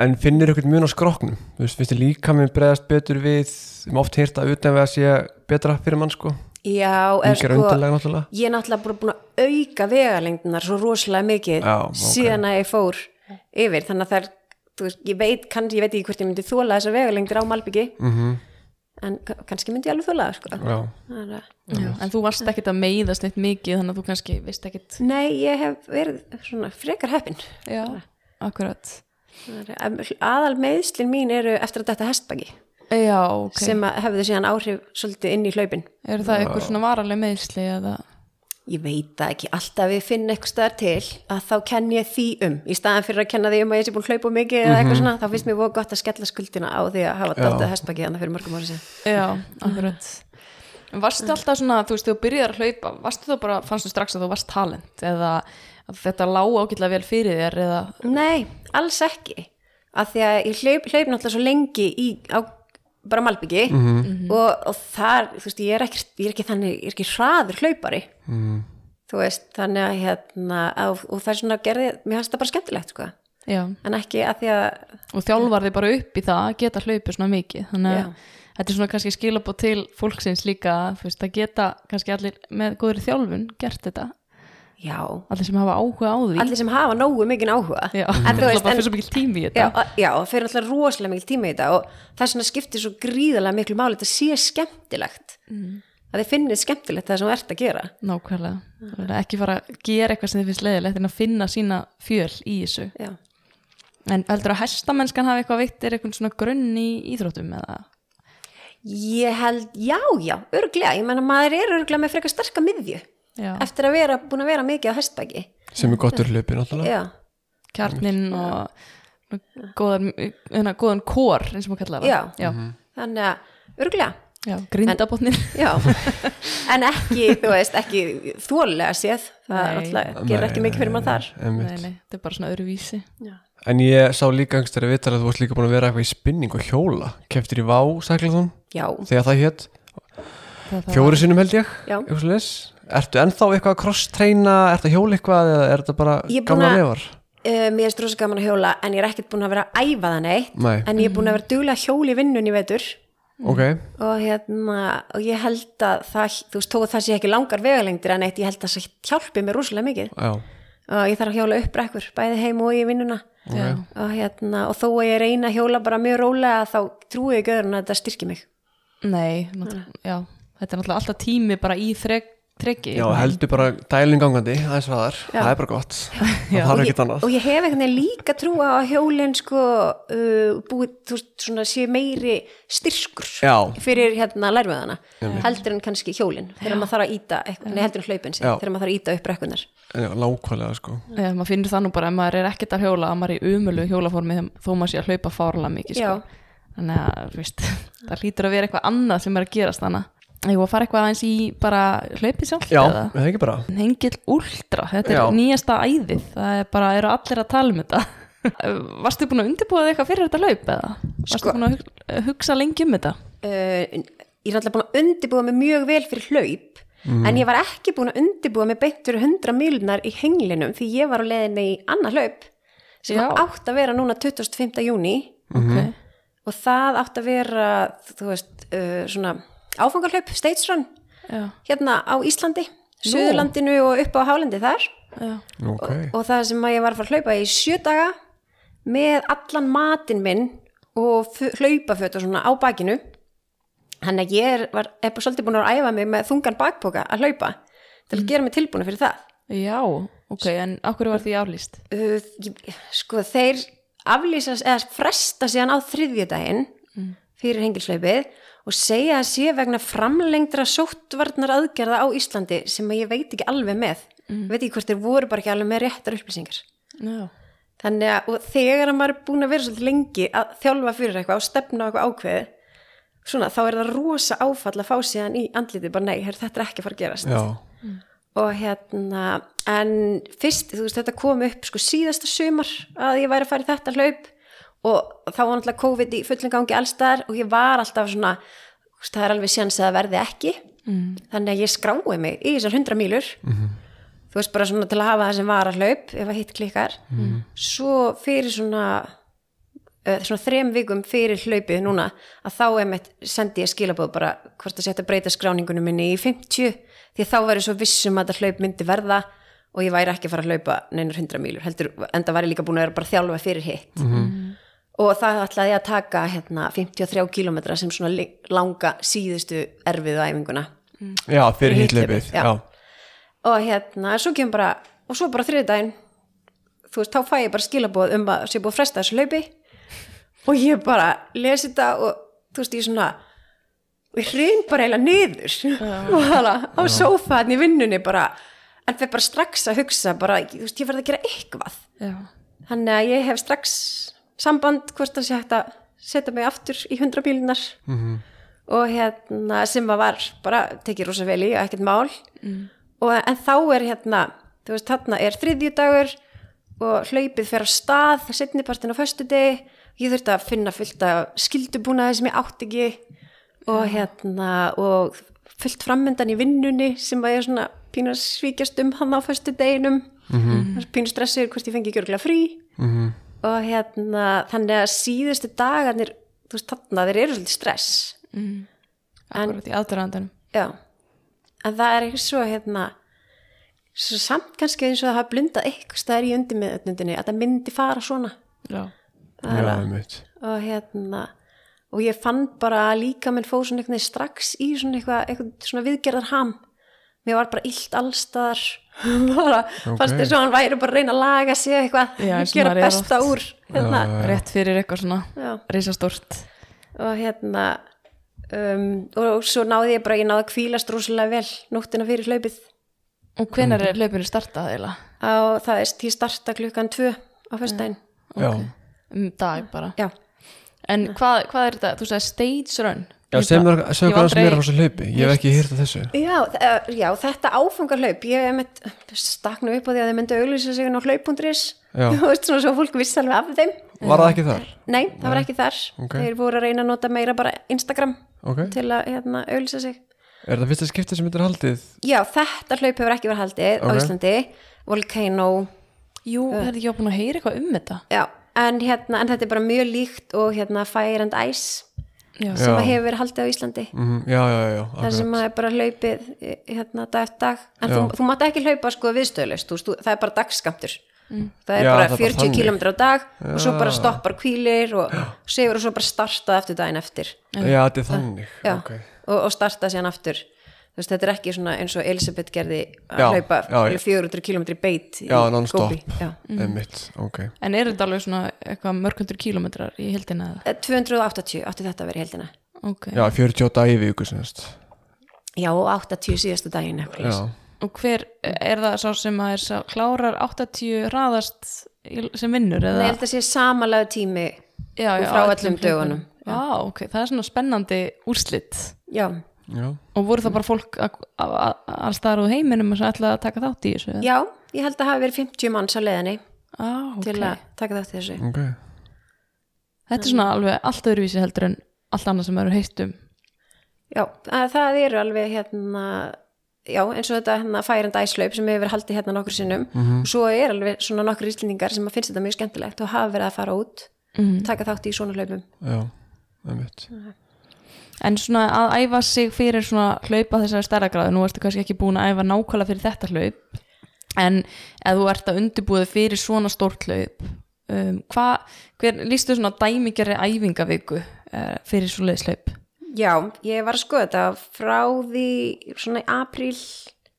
S2: En finnir ykkur mun á skroknum Þú veist, finnst þið líka minn bregðast betur við Við oft hýrt að utanvega sé betra fyrir mann sko
S3: Já, er
S2: Líkar
S3: sko,
S2: undarlega náttúrulega
S3: ég er náttúrulega bara búin að auka vegalengdunar svo rosalega mikið
S2: Já, ok.
S3: síðan að ég fór yfir, þannig að það er, þú veist, ég veit, kann, ég veit ekki hvort ég myndi þóla þessar vegalengdur á Malbyggi,
S2: Mhm,
S3: en ka- kannski myndi ég alveg þóla það, sko.
S2: Já,
S3: Þannig að-
S1: já, en þú varst ekkit að meiðast eitt mikið þannig að þú kannski veist ekkit
S3: Nei, ég hef verið svona frekar heppin.
S1: já, akkurat
S3: Þannig að- Aðal meðslin mín eru eftir að þetta hestbaki,
S1: já, ok,
S3: sem að hefðu síðan áhrif svolítið inn í hlaupin.
S1: eru það eitthvað svona varaleg meðsli eða,
S3: Ég veit það ekki, alltaf við finn eitthvað staðar til að þá kenn ég því um í staðan fyrir að kenna því um að ég sé búin að hlaupa of mikið eða eitthvað svona, þá finnst mér voru gott að skella skuldina á því að hafa
S2: Já.
S3: dáttið hestbakið annað fyrir mörgum árið sér.
S1: já,
S3: (laughs)
S1: akkurat En
S3: Mm.
S1: varstu alltaf svona, þú veist, þegar þú byrjar að hlaupa varstu þú bara, fannstu strax að þú varst talent eða að þetta lág ágætlega vel fyrir þér eða,
S3: Nei, alls ekki, af því að ég hlaup, hlaup náttúrulega svo lengi í, á bara malbyggi og, og þar, þú veist, ég er ekki, ég er ekki þannig, ég er ekki hraður hlaupari,
S2: mm.
S3: þú veist, þannig að hérna, á, og það er svona gerði, mér fannst það bara skemmtilegt, sko,
S1: já
S3: en ekki að því að
S1: og þjálfar þig bara upp í það að geta hlaupið svona mikið þannig
S3: Já.
S1: að þetta er svona kannski skilabóð til fólksins líka þú veist, að geta kannski allir með góðri þjálfun gert þetta,
S3: Já,
S1: allir sem hafa áhuga á því
S3: allir sem hafa nógu mikinn áhuga
S1: já, (laughs)
S3: En þú
S1: það
S3: veist,
S1: bara
S3: en-
S1: fyrir svo mikil tími í
S3: já,
S1: þetta
S3: að- já, það fyrir alltaf rosalega mikil tíma í þetta og það er svona skiptir svo gríðalega miklu máli þetta sé skemmtilegt
S1: Mhm.
S3: að þið finnið skemmtilegt það sem þú ert að gera
S1: nákvæmlega, Þannig að ekki fara að gera eitthvað sem þið finnst leiðilegt en að finna sína fjöl í þessu
S3: já.
S1: En heldur að hestamennskan hafi eitthvað veitt er eitthvað svona grunn í íþróttum eða?
S3: ég held, já, já, örglega ég menna maður er örglega með frekar sterka miðju
S1: Já,
S3: eftir að vera, búin að vera mikið á hestbæki
S2: Sem er gott úr hlaupi náttúrulega
S3: já,
S1: kjarninn og góðan, hérna, góðan kór eins og maður kallar það.
S3: Já.
S1: Já,
S2: Mhm.
S3: þannig að örglega
S1: já grindabotnin. (laughs)
S3: já, en ekki þú veist, ekki þólega séð það er
S1: Nei.
S3: alltaf, gerir ekki mikið fyrir maður þar
S1: Nei,
S2: einmitt.
S1: nei, þetta er bara svona öðruvísi.
S3: já,
S2: En ég sá líka angst þegar viðtalið að þú varst líka búin að vera eitthvað í spinning og hjóla Keftir í Vá, Sæklaðun,
S3: já,
S2: þegar það hétt
S1: Það- það-
S2: Fjóri sinnum held ég,
S3: Já.
S2: eitthvað svo Ertu ennþá eitthvað að cross-treyna, ertu að hjóla eitthvað eða er þetta bara
S3: Ég er búin
S2: gamla
S3: að-
S2: reyfar?
S3: Uh, mér er strósa gaman að hjóla en ég er ekkert búin að vera að æfa það neitt
S2: Nei,
S3: en ég er búin að vera duglega að hjóla í vinnunni í vetur
S2: ok,
S3: og hérna og ég held að það, þú veist, þó að það sé ekki langar vegalengdir en eitt, ég held að það hjálpi mér rúslega mikið
S2: já,
S3: og ég þarf að hjóla upp brekkur, bæði heim og í vinnuna
S1: Já.
S3: og hérna, og þó að ég reyna að hjóla bara mjög rólega þá trúi ég göðurinn að þetta styrki mig
S1: Nei, náttúrulega-
S3: Ah.
S1: já, þetta er náttúrulega alltaf tími bara í þreg, þregi.
S2: já, heldur bara dælinn gangandi, aðeins hraðar,
S3: Já.
S2: það er bara gott Það
S1: Já.
S2: þarf
S3: og ég,
S2: ekkert annað
S3: og ég hef einhvern veginn líka trú á að hjólinn sko uh, búið, þú veist, svona sé meiri styrkur
S2: Já.
S3: fyrir hérna lærmiðana heldur en kannski hjólinn þegar maður þarf að íta, eitthvað, nei heldur en hlaupin sig,
S2: Já.
S3: þegar maður þarf að íta upp brekkunar
S2: Já, lágkvælega sko
S1: Já, maður finnur það nú bara að maður er ekkert að hjóla, að maður er í umölu hjólaformi þegar- þó maður sé að hlaupa fárlega mikið.
S3: Já.
S1: Sko. Þannig að, þú veist, það hlýtur að vera eitthvað annað sem er að gerast þannig. Ég var að fara eitthvað aðeins í bara hlaupið sjálft
S2: Já,
S1: eða?
S2: það er ekki bara
S1: Hengill Ultra, þetta er
S2: Já.
S1: nýjasta æðið, það er bara, eru allir að tala um þetta. (laughs) Varstu búin að undirbúa þig eitthvað fyrir þetta laup eða? Varstu
S3: Sko.
S1: búin að hug- hugsa lengi um þetta?
S3: uh, ég er náttúrulega búin að undirbúa mig mjög vel fyrir hlaup en ég var ekki búin að undirbúa mig beint fyrir 100 milunar í henglinum því ég var á leiðinni í annað hlaup sem
S1: Já.
S3: átt að vera núna 25. júni
S1: Mm.
S3: og það átt að vera þú veist, uh, svona áfangarhlaup, stage run
S1: Já,
S3: hérna á Íslandi, Suðurlandinu og upp á Hálendi þar
S1: já.
S2: ok
S3: og það sem að ég var að fara að hlaupa í sjö daga með allan matinn minn og fu- hlaupaföt og svona á bakinu þannig að ég er, var, er bara svolítið búin að æfa mig með þungan bakpoka að hlaupa til að gera mig tilbúin fyrir það
S1: Já, ok, en okkur var því aflýst?
S3: uh, ég- sko þeir aflýsast eða fresta síðan á þriðjudaginn
S1: Mm.
S3: fyrir hengilslaupið og segja að sé vegna framlengdra sóttvarnar aðgerða á Íslandi sem að ég veit ekki alveg með veit ekki hvort þeir voru bara ekki alveg með réttar upplýsingar
S1: Já.
S3: Þannig að og þegar að maður er búin að vera svolítið lengi að þjálfa fyrir eitthvað og stefna á eitthvað ákveðið, svona þá er það rosa áfall að fá síðan í andlitið bara nei, heyrðu, þetta er ekki að fara að gerast.
S2: já,
S3: Og hérna, en fyrst, þú veist, þetta kom upp sko síðasta sumar að ég væri að fara í þetta hlaup og þá var náttúrulega COVID í fullum gangi allstaðar og ég var alltaf svona, þú veist, það er alveg séns að það verði ekki, mm. þannig að ég skrái mig í þessar 100 mílur þú veist bara svona til að hafa það sem var að hlaup ef að hitt klikkar svo fyrir svona eh, svona þrem vikum fyrir hlaupið núna að þá emitt sendi ég skilabóð bara hvort að setja að breyta skráningunum minni í 50 því að þá væri svo vissum að þetta hlaup myndi verða og ég væri ekki að fara að hlaupa neinar 100 mílur heldur, enda var ég líka búin að vera bara að þjálfa fyrir hitt og það ætlaði ég að taka hérna 53 kilometra sem svona li- langa síðustu erfiðu æfinguna
S2: já fyrir
S3: Fyrir
S2: hitleipið
S3: hitlaupið, já.
S2: já.
S3: og hérna, svo kemur bara og svo bara þriðdæn þú veist, þá fæ ég bara skilaboð um að sé búið að fresta þessu laupi og ég bara lesi þetta og þú veist, ég svona við hrein bara eiginlega niður (laughs) og bara á sófaðan í vinnunni bara, en við bara strax að hugsa bara, þú veist, ég verð að gera eitthvað
S1: Já.
S3: þannig að ég hef strax samband hvort það sé hægt að setja mig aftur í hundra bílunar -hmm. og hérna sem að var bara tekið rosa vel í og ekkert mál mm. og en þá er hérna þú veist þarna er þriðjudagur og hlaupið fer á stað setnipartin á föstudegi ég þurfti að finna fullt af skildubúnaði sem ég átt ekki og hérna og fullt framöndan í vinnunni sem að ég er svona pínu að svíkjast um hann á föstudeginum mm -hmm. pínu stressir hvort ég fengi ekki örgulega frí og hérna þannig að síðustu dagarnir þú veist þarna þeir eru svolítið stress
S1: Akkur út í aðdörandanum.
S3: já, en það er ekki svo hérna svo samt kannski eins og það hafa blundað eitthvað staðar í undirmiðnundinni að það myndi fara svona
S1: Já.
S2: já, einmitt.
S3: og hérna og ég fann bara að líka minn fóð svona eitthvað strax í svona eitthvað, eitthvað svona viðgerðar ham mér var bara illt allstaðar (laughs) bara fannst þess að hann væri bara að reyna að laga sig eitthvað,
S1: Já, eins og
S3: gera
S1: maður er
S3: besta
S1: oft.
S3: úr hérna.
S1: Rétt fyrir eitthvað svona
S3: Já.
S1: risastórt.
S3: og hérna um, og svo náði ég bara, ég náði að kvílast rosalega vel nóttina fyrir hlaupið
S1: Og hvenær er löpinu startað eiginlega?
S3: og það er því starta klukkan tvö á föstudaginn,
S2: já,
S1: Um dag bara.
S3: já,
S1: En hvað, hvað er þetta? Þú sagði stage run.
S2: já
S1: Ég
S2: sem er,
S1: bara- ég
S2: sem er
S1: hef
S2: hvað sem er á
S1: aldrei-
S2: þessu hlaupi ég hef ekki hýrt af þessu
S3: Já, þ- já, þetta áfangarhlaup, ég einmitt, stakk nú upp á því að þið myndu auglýsa sig inn á hlaupundris, (laughs)
S2: Já.
S3: þú veist svona svo fólk vissi alveg af þeim.
S2: var það ekki þar?
S3: Nei, það var ekki þar,
S2: Ok.
S3: þeir voru að reyna að nota meira bara Instagram
S2: ok,
S3: til að hérna, auglýsa sig.
S2: er það fyrsta skipti sem þetta er haldið?
S3: Já, þetta hlaup hefur ekki verið haldið á
S2: Ok.
S3: Íslandi, Volcano,
S1: Jú, er þetta ekki búin að heyra eitthvað um þetta?
S3: já, en, hérna, en þetta er bara mjög líkt og hérna Fire and Ice
S1: Já.
S3: sem
S2: Já.
S3: að hefur verið haldið á Íslandi.
S2: Mm, já, já, já, já,
S3: Það sem
S2: akkurat.
S3: að er bara hlaupið eh, hérna dag eftir dag en
S2: Já.
S3: þú, þú mátt ekki hlaupa sko viðstöðlust þú, veist, þú, það er bara dagskamtur það er
S2: Já, það
S3: bara
S2: er bara
S3: 40
S2: þannig.
S3: km á dag og svo
S2: Já.
S3: bara stoppar kvílir og segur og svo bara startað eftir daginn eftir
S2: já, þetta er þannig
S3: Já,
S2: ok.
S3: og, og startað síðan aftur þú veist, þetta er ekki svona eins og Elisabeth gerði að
S2: Já,
S3: hlaupa
S2: já, já.
S3: 400 km í beit í
S2: Já, non-stop.
S3: Gobi. Já.
S2: Einmitt, ok
S1: En eru þetta alveg svona eitthvað mörgundur kílómetrar í hildina eða?
S3: Eh, 280 átti þetta að vera í heldina
S1: Ok.
S2: Já, 40 daga í viku sem þess
S3: já, og 80 síðasta daginn eitthvað
S2: Já,
S1: Og hver er það sá sem að er sá klárar 80 raðast í- sem vinnur
S3: Nei,
S1: eða?
S3: ég held að sé samanlega tími
S1: já,
S3: og
S1: já,
S3: frá
S1: á
S3: öllum dögunum.
S1: Já, ok, það er svona spennandi úrslit.
S3: já,
S2: já,
S1: Og voru það bara fólk alls staðar úr heiminum sem ætlaði að taka þátt í þessu? eða?
S3: Já, ég held að hafa verið 50 manns á leiðinni
S1: ah,
S3: til
S1: okay.
S3: að taka þátt í þessu
S2: ok
S1: þetta er svona alveg allt öðruvísi heldur en allt annað sem eru heitt um
S3: Já, að það eru alveg hérna já, eins og þetta hérna færanda æslaup sem hefur verið haldið hérna nokkur sinnum og svo er alveg svona nokkur íslendingar sem að finnst þetta mjög skemmtilegt og hafa verið að fara út
S1: Mhm.
S3: taka þátt í svona hlaupum
S2: já, einmitt
S3: Mm.
S1: en svona að æfa sig fyrir svona hlaupa þessari stærra gráðu, nú ertu kannski ekki búin að æfa nákvæmlega fyrir þetta hlaup en ef þú ert að undirbúið fyrir svona stórt hlaup um, hvað, hver lístu svona dæmigerri æfingaviku uh, fyrir svo leiðslaup
S3: Já, ég var að skoða þetta frá því svona í apríl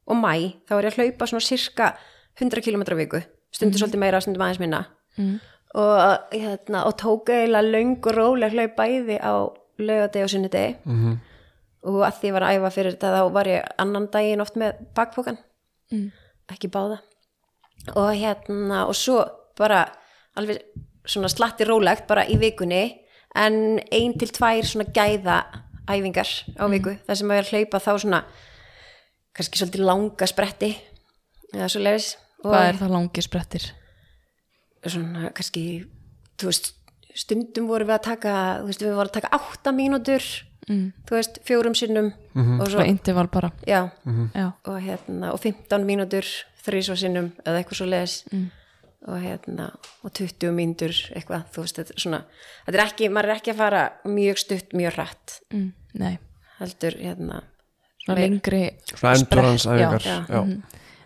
S3: og mæ, þá var ég að hlaupa svona cirka 100 km viku stundu svolítið meira, stundum aðeins minna
S1: Mhm.
S3: og, hérna, og tók eiginlega löng og róleg hlaup bæði á laugardegi og sunnudegi
S2: Mhm.
S3: og að því ég var að æfa fyrir þetta þá var ég annan daginn oft með bakpokan
S1: Mm.
S3: ekki báða og hérna og svo bara alveg svona slatti rólegt bara í vikunni en ein til tvær svona gæða æfingar á
S1: Mm.
S3: viku þar sem að vera að hlaupa þá svona kannski svolítið langa spretti eða svo leifis og
S1: hvað er það langi sprettir
S3: svona kannski þú veist, stundum vorum við að taka þú veist, við vorum að taka átta mínútur mm. þú veist, fjórum sinnum og svo,
S1: svona interval bara
S3: já
S1: já,
S3: og hérna, og 15 mínútur þrísvar sinnum eða eitthvað svo leis mm. og hérna, og 20 mínútur eitthvað, þú veist, þetta er svona þetta er ekki, maður er ekki að fara mjög stutt mjög hratt,
S1: mm, nei,
S3: heldur hérna,
S1: svona
S3: meir-
S1: lengri
S2: svona endurans
S1: sprett, já,
S2: æfingar
S3: já. Mm.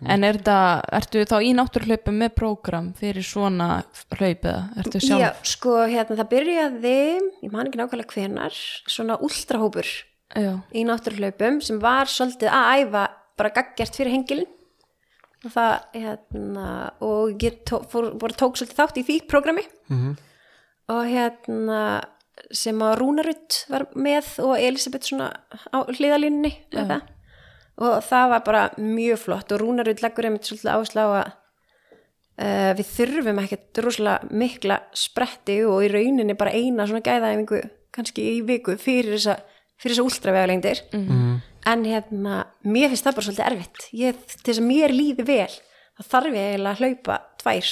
S2: já.
S1: en er það, ertu þá í náttúrhlaupum með prógram fyrir svona hlaupið, ertu sjálf
S3: Já, sko, hérna, það byrjaði ég man ekki nákvæmlega hvenar svona últrahópur
S1: já.
S3: í náttúruhlaupum sem var svolítið að æfa bara gaggjart fyrir hengilin og það hérna, og ég tó, fór, fór, tók svolítið þátt í því programmi
S2: Mhm.
S3: og hérna sem að Rúnarut var með og Elisabeth svona á hliðalínni með það og það var bara mjög flott og Rúnarut leggur einmitt svolítið áslá að uh, við þurfum ekkert rosalega mikla spretti og í rauninni bara eina svona gæðaæfingu kannski í viku fyrir þessa, fyrir þessa últravegalengdir mm. en hérna, mér finnst það bara svolítið erfitt ég, til þess að mér líði vel þá þarf ég eiginlega að hlaupa tvær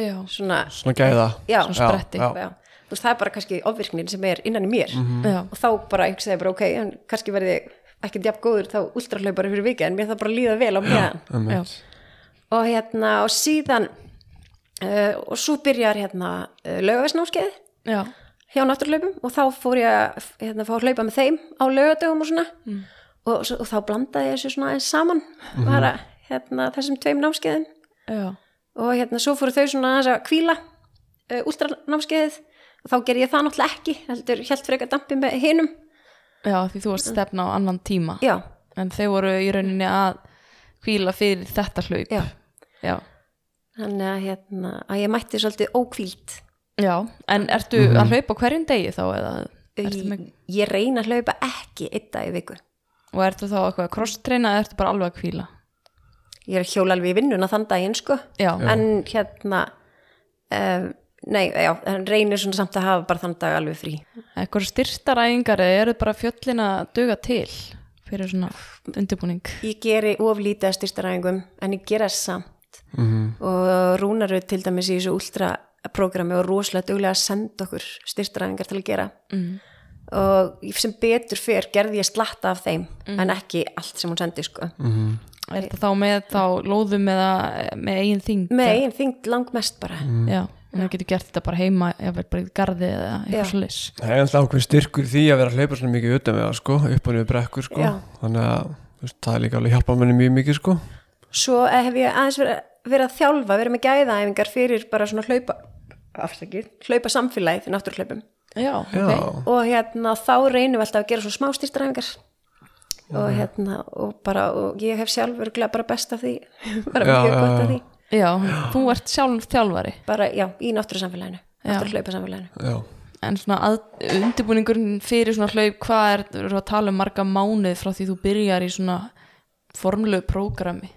S1: já,
S3: svona,
S2: svona gæða
S3: já,
S1: Svona spretti.
S2: já, já.
S3: já. þú veist, það er bara kannski ofvirknin sem er innan í mér
S1: já,
S3: og þá bara einhvers veginn bara ok, en kannski verði ekki jafn góður þá últrahlaupari fyrir vikið en mér það bara líða vel á meðan
S2: einmitt
S3: og hérna og síðan uh, og svo byrjar hérna uh, lögavæsnámskeið
S1: já.
S3: hjá náttúrlaupum og þá fór ég að hérna, fá að hlaupa með þeim á lögadögum og svona
S1: Mm.
S3: og, svo- og þá blandaði ég þessu svona eins saman
S1: Mhm.
S3: bara hérna, þessum tveim námskeiðum
S1: Já,
S3: og hérna svo fóru þau svona aðeins að kvíla uh, últranámskeiðið og þá gerði ég það náttúrulega ekki heldur helt frekar dampi með hinum
S1: já, því þú varst að stefna á annan tíma
S3: já,
S1: en þau voru í rauninni að hvíla fyrir þetta hlaup
S3: Já.
S1: já,
S3: þannig að, hérna, að ég mætti svolítið ókvílt
S1: já. en ertu að hlaupa á hverjum degi þá eða ertu
S3: ég,
S1: með,
S3: ég reyna að hlaupa ekki einn dag í viku
S1: og ertu þá eitthvað að cross-treyna eða ertu bara alveg að hvíla
S3: ég er að hjóla alveg í vinnuna þann daginn sko
S1: já,
S3: en hérna um, nei, já, en reynir svona samt að hafa bara þann dag alveg frí
S1: eitthvað styrtaræðingar eða eru bara fjöllin að duga til fyrir svona undirbúning
S3: ég geri oflítið að styrstaræðingum en ég gera samt -hmm. og Rúnarud til dæmis í þessu últra programmi og rosalega duglega að senda okkur styrstaræðingar til að gera
S1: mm.
S3: og sem betur fer gerði ég slatta af þeim en ekki allt sem hún sendi sko.
S1: er þetta þá með þá lóðum eða með eigin þing
S3: með einn þingd langmest bara
S1: já, en þú getur gert þetta bara heima jáfnveg bara í garði eða eitthvað
S3: Já.
S1: svo leys
S2: það er alltaf ákveðin styrkur í því að vera að hlaupa svona mikið utan með það sko, upp og niður brekkur sko
S3: Já.
S2: þannig að þú veist, það er líka alveg hjálpa manni mjög mikið sko
S3: svo eh, hef ég aðeins verið verið að þjálfa, verið með gæðaæfingar fyrir bara svona hlaupa afsakið, hlaupa samfélagið í náttúruhlaupum
S1: já,
S2: já,
S3: og hérna þá reynum við alltaf að gera svona smá styrstaræfingar og hérna og bara og ég hef sjálf örgulega bara best af því (laughs) bara
S2: Já, já,
S3: mjög gott af
S2: já.
S3: því
S1: já, þú ert sjálf þjálfari
S3: bara já, í náttúru samfélaginu
S1: Já.
S3: náttúru hlaupa samfélaginu
S2: já,
S1: En svona að, undirbúningurinn fyrir svona hlaup, hvað er, við erum að tala um marga mánuð frá því þú byrjar í svona formlegu prógrami?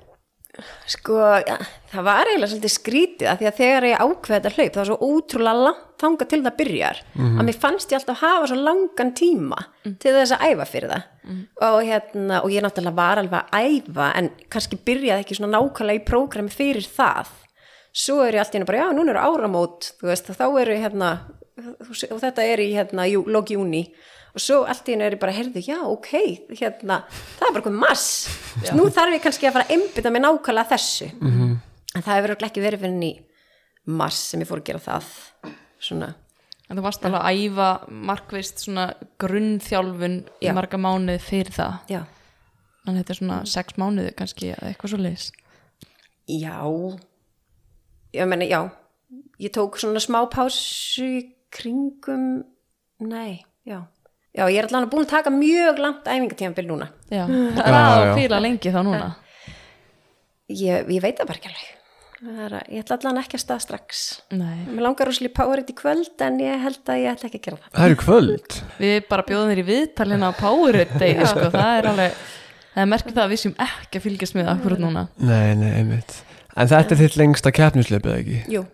S3: sko, ja, það var eiginlega svolítið skrítið af því að þegar ég ákveði þetta hlaup það var svo ótrúlega langt þangað til það byrjar að mér fannst ég alltaf hafa svo langan tíma til þess að æfa fyrir það og hérna, og ég náttúrulega var alveg að æfa en kannski byrjaði ekki svona nákvæmlega í prógrami fyrir það svo er ég allt í henni bara, já, núna eru áramót þú veist, þá eru hérna og þetta er í hérna, jú, log júni og svo allt í henni er ég bara, heyrðu, já, ok hérna, það er bara komið mass nú þarf ég kannski að fara að einbytta mig nákvæmlega þessu -hmm. en það hefur örugglega ekki verið fyrir henni mass sem ég fór að gera það svona,
S1: En þú varst alveg að æfa markvist svona grunnþjálfun í
S3: Já.
S1: marga mánuði fyrir það.
S3: já
S1: En þetta er svona sex mánuði kannski eða eitthvað svo leiðis.
S3: Já, ég meina, já, ég tók svona smá pásu í kringum, nei, já. Já, ég er allan að búin að taka mjög langt æfingatímabil núna.
S1: Já, það er að
S2: já.
S1: fýla lengi þá núna.
S3: Ég, ég veit það bara ekki alveg. Það er að- Ég ætla allan ekki að stað strax.
S1: Nei,
S3: Mér langar rosalega í Powerade í kvöld en ég held að ég ætla ekki að gera það.
S2: Það eru kvöld
S1: við bara bjóðum þér í viðtalina á Powerade Day, sko, það er alveg, það er merkið það að við séum ekki að fylgjast með akkurat núna.
S2: Nei, nei, einmitt En þetta er þitt lengsta keppnislaupið, eða ekki?
S3: Jú,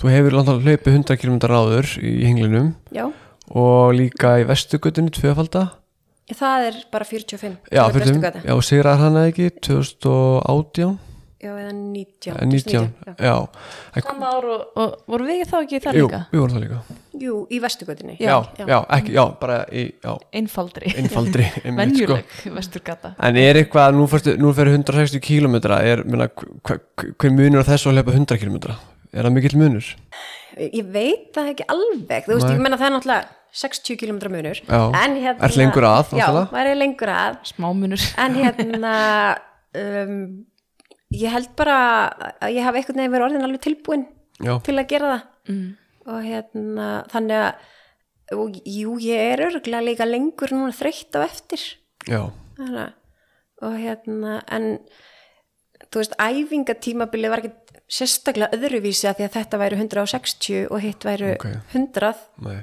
S2: Þú hefur langt að hlaupið 100 km áður í hinglinum
S3: já,
S2: og líka í vestugutunni tvöfalda
S3: það er bara 45.
S2: Já,
S3: Það er
S2: fyrir
S3: bestu
S2: þeim,
S3: gata.
S2: já, og sigrar hann eða ekki 2018,
S3: Já, eða 19.
S2: Eh, 19
S3: já.
S2: Já,
S1: Sama ár og, og voru við þá ekki í það
S2: jú,
S1: líka?
S2: við vorum það líka
S3: Jú, í vestugötunni.
S2: já, já, ekki, já, bara í, já,
S1: Einfaldri,
S2: einfaldri einmitt, sko.
S1: venjuleg, vesturgata.
S2: En er eitthvað, nú fyrir, nú fyrir 160 km er, menna, hver, hver munur á þessu að hlaupa 100 km? Er það mikill munur?
S3: Ég veit það ekki alveg, þú veist,
S2: Nei.
S3: ég menna það er náttúrulega 60 km munur.
S2: Já.
S3: En hérna...
S2: Ert lengur að,
S3: Já,
S2: náttúrulega.
S3: maður er lengur að.
S1: Smámunur.
S3: En hérna,
S2: (laughs)
S3: um, ég held bara að ég hafi einhvern veginn verið orðin alveg tilbúin
S2: Já,
S3: til að gera það. Mm. Og hérna, þannig að, og, jú, ég er örgulega líka lengur núna þreytt á eftir.
S2: já,
S3: Þannig að, og hérna, en þú veist, æfingatímabilið var ekki sérstaklega öðruvísi að því að þetta væru 160 og hitt væru
S2: Ok.
S3: 100
S2: nei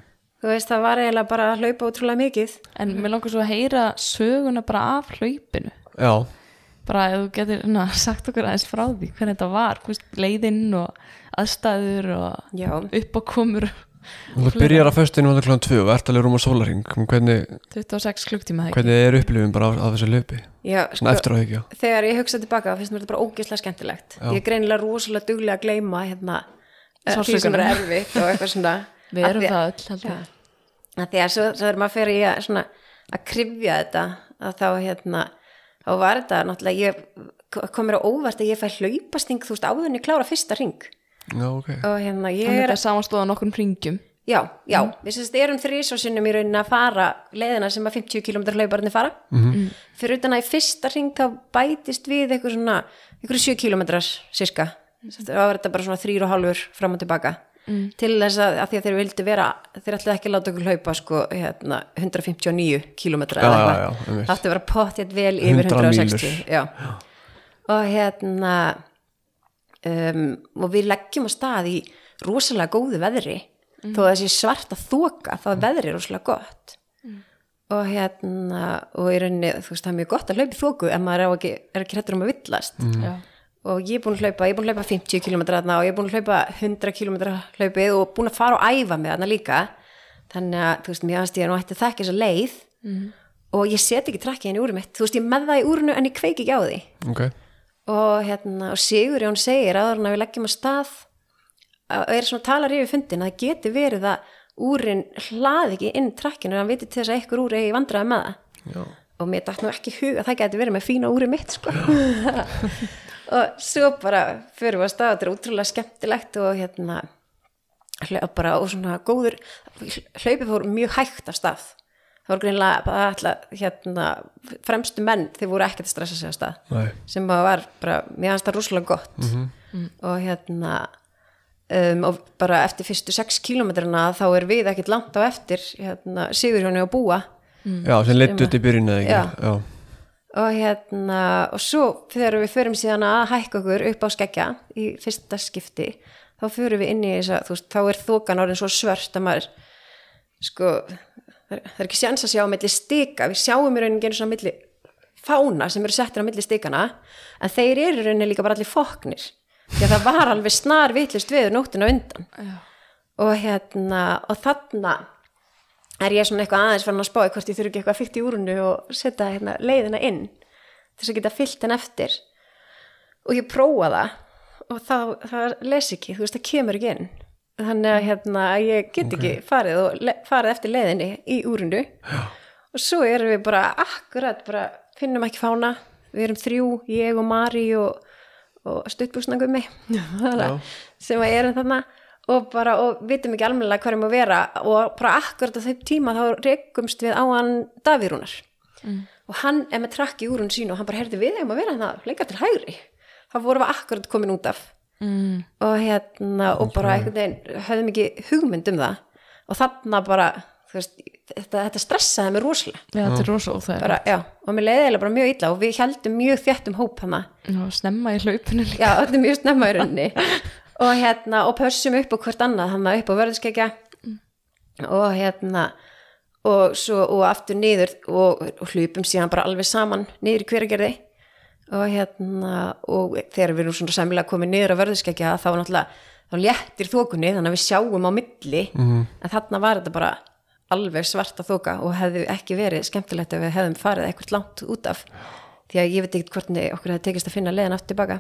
S3: þú veist, það var eiginlega bara að hlaupa ótrúlega mikið
S1: En mér langar svo að heyra söguna bara af hlaupinu.
S2: Já,
S1: bara ef þú getur na, sagt okkur aðeins frá því hvernig þetta var, hvist, leiðinn og aðstæður og
S3: já,
S1: uppákomur
S2: og þú byrjar að föstinu vandur klán 2 og ert alveg rúm á sólaring hvernig,
S1: 26 klukktíma það ekki
S2: hvernig er upplifin bara af, af þessu laupi?
S3: já sko,
S2: Svona eftir á ekki, já
S3: þegar ég hugsa tilbaka finnst mér þetta bara ógeðslega skemmtilegt
S2: Já.
S3: ég er greinilega rosalega duglega að gleyma hérna, eh, því sem
S1: Sársaukanum.
S3: er erfitt og eitthvað svona
S1: við
S3: Af
S1: erum
S3: því-
S1: það öll heldur
S3: Já.
S1: ég.
S3: Af því að svo, svo er maður fyrir í að, svona, að krifja þetta að þá hérna þá var þetta náttúrulega ég kom mér á óvart að ég fæ hlaupasting þú veist áður en ég klára fyrsta ring
S2: Já, ok
S3: og hérna ég
S1: en
S3: er
S1: þetta er samanstóðan okkur ringjum
S3: já, já,
S2: Mhm.
S3: við sérst erum þrísvarsinnum í rauninni að fara leiðina sem að 50 km hlauparni fara
S2: Mhm.
S3: -hmm. fyrir utan að í fyrsta ring þá bætist við eitthvað svona eitthvað 7 km sirka þá var þetta bara svona þrýr og hálfur fram og tilbaka Mm. til þess að, að því að þeir vildu vera þeir ætlaði ekki að láta okkur hlaupa sko, hérna, 159 km
S2: Já, já, já, einmitt.
S3: það átti að vera pottið vel yfir
S2: 100 mílur.
S3: 160 já. og hérna um, og við leggjum á stað í rosalega góðu veðri þó að þessi svarta þoka þá er veðri rosalega gott og hérna og í rauninni, þú veist, það er mjög gott að hlaupa í þoku en maður er á ekki, er ekki hrettur um að villast
S2: Mm.
S1: Já.
S3: og ég er búin að hlaupa, ég er búin að hlaupa 50 km þarna og ég er búin að hlaupa 100 km hlaupið og búin að fara og æfa mig þarna líka þannig að, þú veist, mér aðast ég nú ætti að þekki þessa leið og ég set ekki trakkið henni úr mitt, þú veist, ég er með það í úrinu en ég kveik ekki á því
S2: Ok,
S3: og, hérna, og Sigur Jón segir áður en að við leggjum á stað og er svona talar yfir fundin að það geti verið að úrin hlaði ekki inn trakkinu en hann viti til þess að einhver úr eigi vandræði með það
S2: já,
S3: og mér dætt nú ekki í hug að það geti verið með fína úri mitt sko. (laughs) og svo bara fyrir við að staða, þetta er útrúlega skemmtilegt og hérna hla- bara og svona góður hlaupið fór mjög hægt af stað það voru greinlega bara alltaf hérna, fremstu menn þeir voru ekkert að stressa sig af stað
S2: nei
S3: sem að var bara, mér fannst það rosalega gott og hérna um, og bara eftir fyrstu 6 kilometrina þá er við ekkert langt á eftir hérna, Sigurjóni að búa
S2: Já, sem leittu út í byrjun eða ekki Já,
S3: og hérna og svo þegar við förum síðan að hækka okkur upp á skeggja í fyrsta skipti þá förum við inn í þess að þú veist, þá er þokan orðin svo svört að maður sko, það er það er ekki sjans að sjá á milli stika, við sjáum í rauninni genið svona milli fána sem eru settir á milli stikana en þeir eru í rauninni líka bara allir foknir því að það var alveg snar vitlist viður nóttina á undan og hérna og þarna er ég svona eitthvað aðeins farin að spá í hvort ég þurfi ekki eitthvað fyrkt í úrunu og setja hérna, leiðina inn til þess að geta fyllt henn eftir og ég prófa það og það, það les ekki, þú veist, það kemur ekki inn þannig að hérna, ég get ekki farið og le, farið eftir leiðinni í úrundu Já. og svo erum við bara akkurat, bara finnum ekki fána við erum þrjú, ég og Mari og, og (laughs) stuttbúsnangummi sem að erum þarna og bara, og vitum ekki almennilega hverjum að vera og bara akkurat á þeim tíma þá rekumst við á hann Davírunar og hann er með trakki úr hún sín og hann bara herði við þeim að vera hann að leika til hægri þá vorum við akkurat komin út af
S1: mm,
S3: og hérna, og bara einhvern veginn höfðum ekki hugmynd um það og þarna bara, þú veist þetta, þetta stressaði mig rosalega
S1: já, þetta er rosa óþægilegt
S3: bara, já, og mér leiði eiginlega bara mjög illa og við heldum mjög þéttum hóp hana
S1: Já, snemma í hlaupinu líka
S3: já, þetta er mjög snemma í rauninni og hérna, og pössum upp á hvert annað hann upp á verðiskekja og hérna og svo, og aftur niður og, og hlupum síðan bara alveg saman niður í hveragerði og hérna, og þegar við erum svona sæmilega komið niður á verðiskekja þá náttúrulega, þá léttir þokunni þannig að við sjáum á milli en þarna var þetta bara alveg svarta þoka og hefði ekki verið skemmtilegt ef við hefðum farið eitthvað langt út af því að ég veit ekki hvernig okkur hefði tekist að finna leiðan aftur tilbaka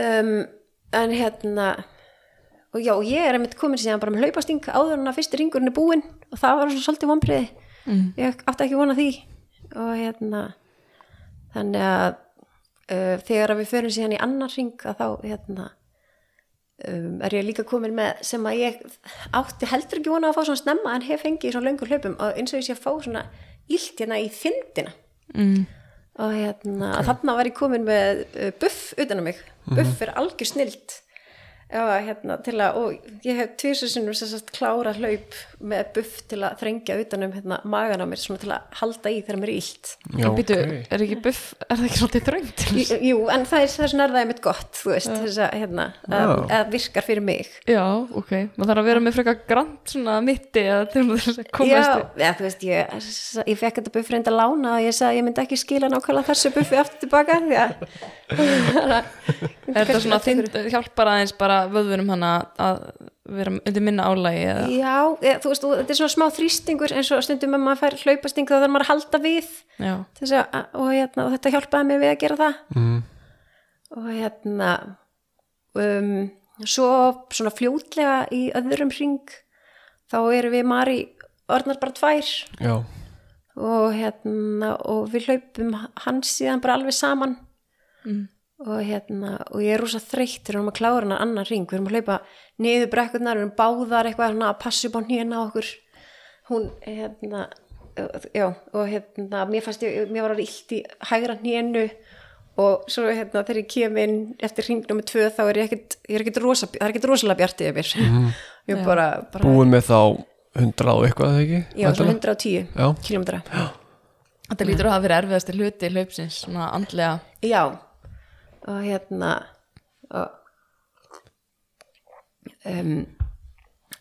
S3: um, en hérna og já, og ég er einmitt komin síðan bara með hlaupasting áður en að fyrsti ringurinn er búinn og það var svona svolítið vonbriði mm. ég átti ekki vona því og hérna þannig að uh, þegar að við förum síðan í annar ring að þá hérna um, er ég líka komin með sem að ég átti heldur ekki vona að fá svona snemma en hef fengið í svona löngur hlaupum og eins og ég sé að fá svona illt hérna í þindina
S1: mm.
S3: og hérna, þarna var ég komin með uh, buff utan á mig
S1: Mhm.
S3: buff er algjör snilt og, hérna, til að, og ég hef tvísusinnum sérst klára hlaup með buff til að þrengja utan um hérna, magan á mér svona til að halda í þegar mér er illt
S2: Já,
S1: En býtu,
S2: ok.
S1: er ekki buff, er það ekki svolítið þröngt?
S3: Jú, jú, en það er þess að er það einmitt gott, þú veist, þess að, hérna, að,
S2: Já.
S3: að virkar fyrir mig.
S1: Já, ok, maður þarf að vera með frekar grant svona mitti eða þegar maður þess að komast
S3: Já, ja, þú veist, ég, ég fekk þetta buffi reynda lána og ég sagði að ég myndi ekki skila nákvæmlega þessu buffi aftur tilbaka, því
S1: (laughs)
S3: að... (laughs)
S1: Er þetta svona þind, hjálpar aðeins bara vöðvunum hana að vera undir minna álægi eða
S3: Já, eða, þú veist, og þetta er svona smá þrýstingur eins og stundum að maður fær hlaupasting þá þarf maður að halda við
S1: Já,
S3: til þess að, og, hérna, og þetta hjálpaði mér við að gera það
S2: mm.
S3: og hérna um, svo svona fljótlega í öðrum hring þá erum við Mari orðnar bara tvær
S2: já,
S3: og hérna og við hlaupum hans síðan bara alveg saman
S1: Mm.
S3: og hérna og ég er rosa þreytt þegar við erum að klára hennar annan ring við erum að hlaupa niður brekkurnar við erum báðar eitthvað svona að passa upp á hnýjan á okkur hún hérna já og hérna mér fannst ég, mér var alveg illt í hægra hnýjanu og svo hérna þegar ég kem inn eftir ring nummer tvö þá er ég ekkit, ég er ekkit rosa, það er ekkit rosalega bjartið yfir ég er bara, bara
S2: Mhm. búin með þá hundrað og eitthvað, eða ekki?
S3: já, svona
S2: Væntanlega?
S3: 110
S2: Já.
S3: kilometra
S1: þetta lítur að hafa verið erfiðasti hluti hlaupsins svona andlega
S3: Já, og hérna og, um,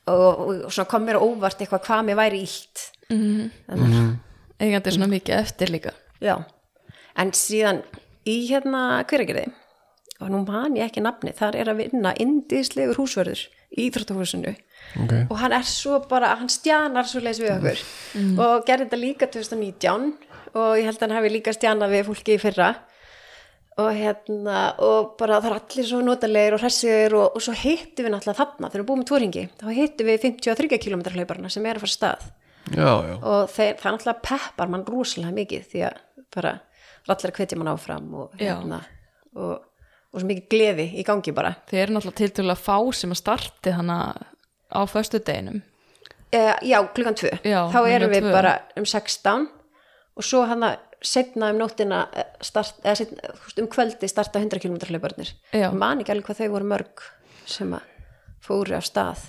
S3: og, og svona kom mér á óvart eitthvað hvað mér væri illt
S1: eigandi svona mikið eftir líka
S3: Já, en síðan í hérna hveragerði og nú man ég ekki nafni, þar er að vinna indislegur húsverður í Íþróttahúsinu
S2: Ok,
S3: og hann er svo bara, hann stjanar svo leys við okkur og gerði þetta líka 2019 og ég held að hann hafi líka stjanað við fólki í fyrra og hérna og bara það er allir svo notalegir og hressir og, og svo hittum við náttúrulega þarna þegar við búum í tóringi, þá hittum við 53 km hlauparna sem er að fara af stað
S2: já, já
S3: og þeir, það er náttúrulega peppar mann rosalega mikið því að bara það er allir að hvetja mann áfram og,
S1: Já.
S3: hérna, og, og svo mikið gleði í gangi bara
S1: Þið eru náttúrulega tiltölulega fá sem að starti hana á föstudeginum
S3: Eh, já, klukkan tvö.
S1: Já,
S3: þá erum
S1: klukkan
S3: við
S1: tvö.
S3: bara um 16 og svo hann að setna um nóttina eh, start, eða setna, þú veist, um kvöldi starta 100 km hlauparnir.
S1: Já.
S3: Ég man ekki alveg hvað þau voru mörg sem að fóru af stað.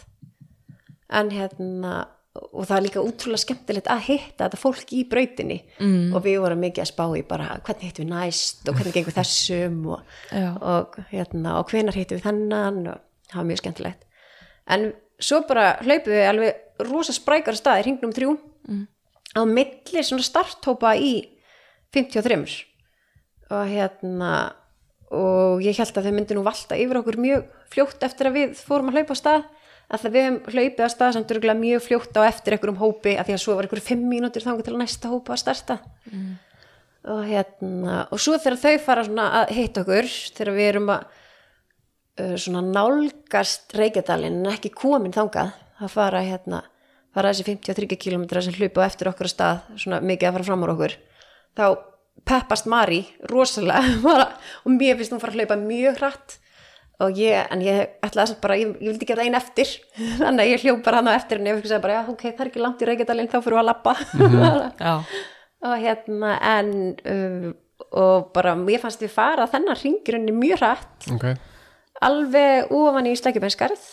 S3: En hérna, og það er líka útrúlega skemmtilegt að hitta þetta fólk í brautinni mm. og við vorum mikið að spá í bara hvernig hittum við næst og hvernig gengur þessum (laughs) og,
S1: Já.
S3: og, hérna, og hvenar hittum við þennan og það var mjög skemmtilegt en svo bara hlaupum við alveg rosa sprækara stað í hringnum þrjú mm. á milli svona starthópa í 53 og hérna og ég held að þau myndi nú valta yfir okkur mjög fljótt eftir að við fórum að hlaupa á stað að það við höfum hlaupið á stað samt örgulega mjög fljótt á eftir einhverjum hópi að því að svo var einhverjum fimm mínútur þangar til að næsta hópa að starta og hérna og svo þegar þau fara svona að hitta okkur þegar við erum að uh, svona nálgast reykjadalinn en ekki komin þangað að fara hérna fara þessi 53 km sem hlupa á eftir okkur að stað svona mikið að fara fram úr okkur þá peppast Mari rosalega (laughs) bara, og mér finnst hún fara að hlaupa mjög hratt og ég, en ég ætlaði samt bara, ég, ég vildi ekki að það einn eftir (laughs) þannig að ég hljóp bara hann á eftir en ég fyrir bara, já ok, það er ekki langt í reykjadalinn þá fyrir að lappa
S1: já,
S3: (laughs) og hérna en um, og bara mér fannst við fara þennan ringirunni mjög hratt
S2: ok,
S3: alveg ofan í slækjubænskarð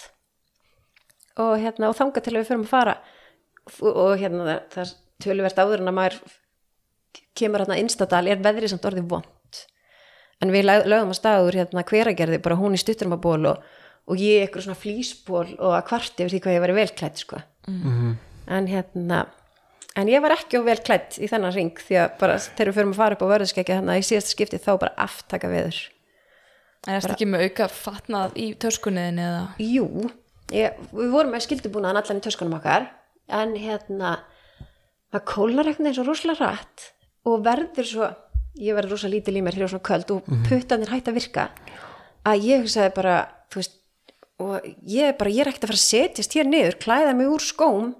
S3: og hérna og þanga til að við förum að fara og, og hérna það, það er töluvert áður en að maður kemur hérna innstadal er veðrið samt orðið vond en við lög- lögðum að staður hérna hveragerði bara hún í stutturmaból og, og ég eitthvað svona flýsból og að kvarti yfir því hvað ég væri velklætt sko en hérna en ég var ekki of vel klætt í þennan ring því að bara þegar við förum að fara upp á vörðuskekja þannig að í síðasta skipti þá bara aftaka veður
S1: en erstu ekki með auka fatnað í törskunniðin eða
S3: Jú, ég, við vorum með skildubúnaðan allan í töskunum okkar en hérna það kólnar eitthvað eins og rosalega rætt og verður svo, ég verður rosalega lítil í mér hér og svona köld og puttanir hætt að virka að ég hugsaði bara þú veist, og ég er bara ég er ekkert að fara að setjast hér niður, klæða mig úr skóm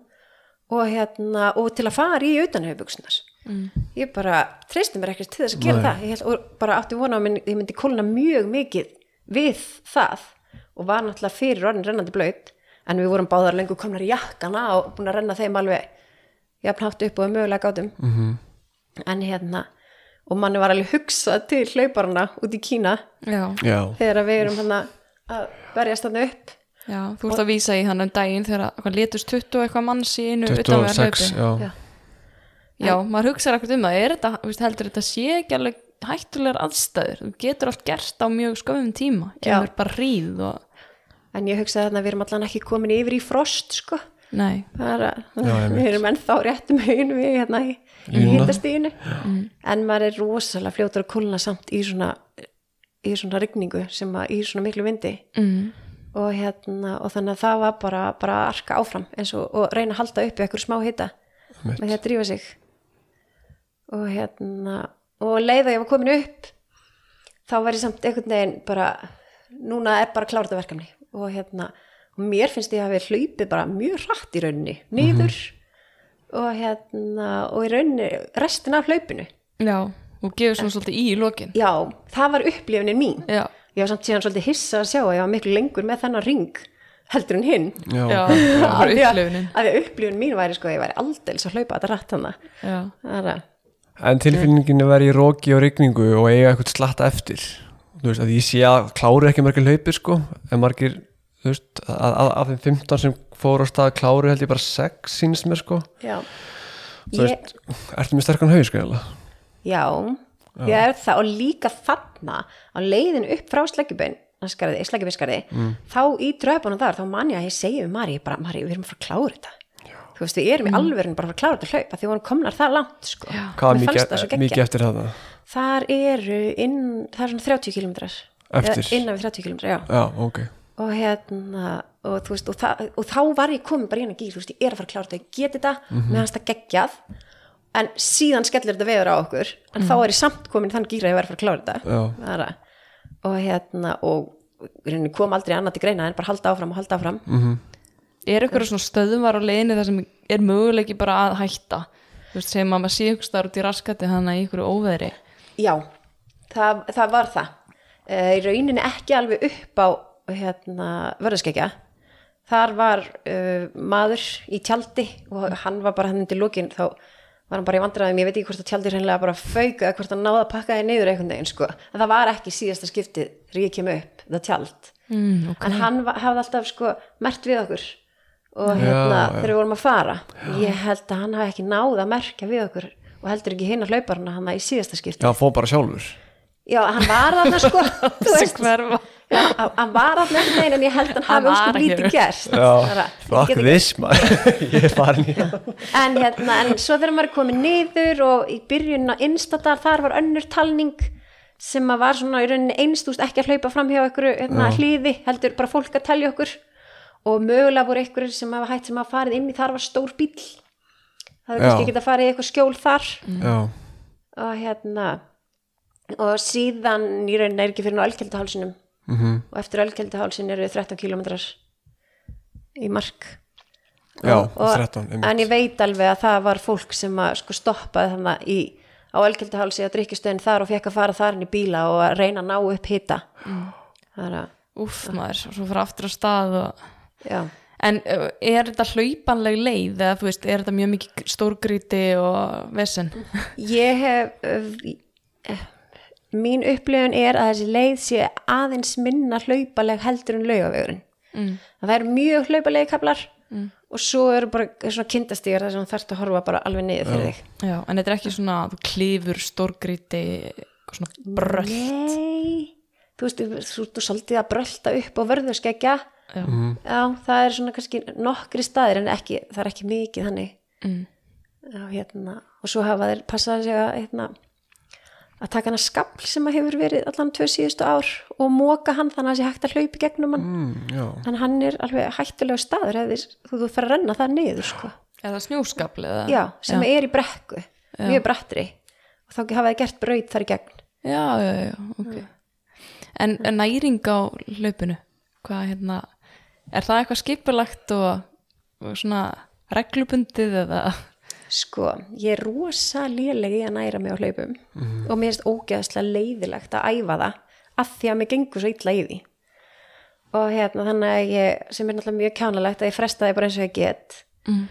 S3: og hérna og til að fara í utanhauðbuksunar mm. ég bara treysti mér ekkert til þess að gera
S2: Nei.
S3: það ég held, og bara átti vona að minn, ég myndi kólna mjög mikið við það og var náttúrulega fyrir orðin rennandi blöyt en við vorum báðar lengur komnar í jakkana og búin að renna þeim alveg jafnhátt upp og við mögulega gátum -hmm.
S2: Mhm.
S3: en hérna og manni var alveg hugsað til hlauparana út í Kína
S1: já,
S2: já
S3: þegar við erum hann að berjast hann upp
S1: já, þú ert að vísa í hann um daginn þegar hvað létust 20 og eitthvað manns í einu utan við
S2: 26,
S1: hlaupi
S2: já,
S3: Já.
S1: já, maður hugsaði ekkert um það er þetta, þú veist, heldur þetta sé ekki alveg hættulegar aðstæður, þú getur allt gert á mjög sköfum tíma,
S3: Já.
S1: kemur bara ríð og,
S3: en ég hugsaði þarna að við erum allan ekki komin yfir í frost sko
S1: nei,
S3: Það er (laughs) að
S2: Já, einmitt.
S3: við erum ennþá réttum huginu við hérna í, í
S2: Línuna.
S3: hittastíðinu en maður er rosalega fljótur að kulna samt í svona í svona rigningu sem að í svona miklu vindi
S1: mm.
S3: og hérna og þannig að það var bara, bara að arka áfram eins og, og reyna að halda upp í ekkur smá hita
S2: Einmitt.
S3: með því að hérna drífa sig og hérna og leið að ég var komin upp þá var ég samt einhvern veginn bara núna er bara klárt að verkefni og hérna og mér finnst ég að hafi hlaupið bara mjög hratt í rauninni niður og hérna og í rauninni restin af hlaupinu
S1: já, og gefur svona svolítið í í lokin
S3: já, það var upplifunin mín
S1: já,
S3: ég var samt síðan svolítið hissa að sjá að ég var miklu lengur með þennan ring heldur en hinn
S2: já,
S1: já,
S2: ok.
S1: bara
S3: Af því að-
S1: upplifunin
S3: af því að upplifun mín væri sko að ég væri aldeilis að hlaupa þetta rætt hana
S1: já,
S3: það er að
S2: En tilfinningin að vera í róki og rigningu og eiga eitthvað slatta eftir þú veist, að ég sé að kláru ekki margir hlaupir sko, en margir þú veist, að, að, af þeim 15 sem fóru á stað kláru held ég bara 6 sínist mér sko,
S3: já,
S2: þú
S3: ég,
S2: veist ertu með sterkan haug sko, eiginlega?
S3: já, ég er það og líka þarna á leiðin upp frá sleggjubin sleggjubiskarði, mm. þá í dröfunum þar þá man ég að ég segi við Mari ég bara, Mari, við erum að fara að klára þetta þú veist, við erum í alvörinu bara að fara að klára þetta hlaup af því við vorum komnar það langt sko
S2: Mm. hvað
S3: Mér
S2: er
S3: fannst það
S2: mikið,
S3: svo geggjað.
S2: mikið eftir það
S3: þar eru inn, það er svona 30 kilometrar
S2: Eftir.
S3: Eða innan við 30 kilometrar, já
S2: já, ok,
S3: og hérna og, þú veist, og, þa og þá var ég komin bara í hennar gíl þú veist, ég er að fara að klára þetta, ég geti þetta mm -hmm. meðan þetta geggjað en síðan skellir þetta veður á okkur en þá er ég samt komin í þann gíl að ég var að fara að klára þetta
S2: já,
S3: Það er að- og hérna og í rauninni kom aldrei annað til greina en bara halda áfram og halda áfram
S1: er ykkur svona stöðum var á leiðinni þar sem er möguleiki bara að hætta þú veist, segjum að maður sé ykkur starf út í raskati þannig að ykkur óveðri
S3: já, það, það var það Eh, í rauninni ekki alveg upp á hérna, vörðskekja þar var uh, maður í tjaldi og hann var bara hann undir lókin þá var hann bara í vandræðum, ég veit ekki hvort að tjaldi hreinlega bara fauk eða hvort hann náði að pakka þið niður einhvern veginn sko, en það var ekki síðasta skiptið þegar ég kem upp, það tjald
S1: mm,
S3: en hann va- hafði alltaf sko mert við okkur og
S2: Já,
S3: hérna
S2: já.
S3: þegar við vorum að fara ég held að hann hafi ekki náð að merkja við okkur og heldur ekki hinn að hlauparna hann í síðasta skipti
S2: já, fóð bara sjálfur
S3: já, hann var þarna sko þú
S1: Þessi
S3: veist,
S1: hverfa
S3: já, hann hann var þarna einhvern veginn en ég held að hann
S1: Hann
S3: hafi
S1: var
S3: óskum
S1: ekki.
S3: lítið gert Bara, ég
S2: fuck
S3: get ekki-
S2: this
S3: (laughs)
S2: maður (laughs) ég er farin í
S3: en hérna, en svo þegar maður er komin niður og í byrjun á innstættar þar var önnur talning sem að var svona í rauninni einstúst ekki að hlaupa fram hjá ykkur hérna, hlýði, heldur bara fólk að telja okkur og mögulega voru ykkur sem hafa hægt sem hafa farið inn í þar var stór bíll það er
S2: Já.
S3: kannski ekki að fara í eitthvað skjól þar
S2: já,
S3: og hérna og síðan í rauninni er ekki fyrir nú elkelduhálsinum
S2: Mhm.
S3: og eftir ölkeldahálsin eru 13 kilometrar í mark
S2: Já,
S3: og,
S2: 13, einmitt.
S3: en ég veit alveg að það var fólk sem að, sko, stoppaði þannig í, á elgjöldahálsi að drikkjustöðin þar og fekk að fara þar inn í bíla og að reyna að ná upp hita
S2: Mm.
S3: það er að,
S1: Úff maður, svo fyrir aftur á stað og...
S3: já
S1: En uh, er þetta hlaupanleg leið eða þú veist, er þetta mjög mikið stórgríti og vesen?
S3: ég hef eh, eh, mín upplifun er að þessi leið sé aðeins minna hlaupaleg heldur en laugavegurinn
S1: Mm.
S3: það eru mjög hlaupalegi kaplar og svo eru bara svona kynntastígar þar sem þú þarft að horfa bara alveg niður fyrir þig
S1: Já, en þetta er ekki svona, þú klifur stórgríti, eitthvað svona bröll.
S3: Nei, þú veist, þú, þú, þú svolítið að brölda upp á vörðurskegja
S1: Já.
S3: Já, það er svona kannski nokkri staðir en ekki, það er ekki mikið þannig
S1: Mm.
S3: Já, hérna, og svo hafa þeir passaði sig að hérna, að taka hana skafl sem að hefur verið allan tvö síðustu ár og móka hann þannig að sé hægt að hlaupi gegnum hann
S2: Mm, já,
S3: en hann er alveg hættulega staður eða þú, þú fer að renna það niður sko.
S1: Er það snjóskapli eða?
S3: já, sem er í brekku mjög brattri og þá hafa þeir gert braut þar í gegn
S1: Já, já, já, ok. En en næring á hlaupinu, hvað hérna, er það eitthvað skipulagt og, og svona reglubundið eða?
S3: Sko, ég er rosa léleg í að næra mig á hlaupum og mér finnst ógeðslega leiðilegt að æfa það af því að mér gengur svo illa í því. Og hérna, þannig að ég, sem er náttúrulega mjög kjánalegt að ég fresta því bara eins og ég get.
S1: Mm.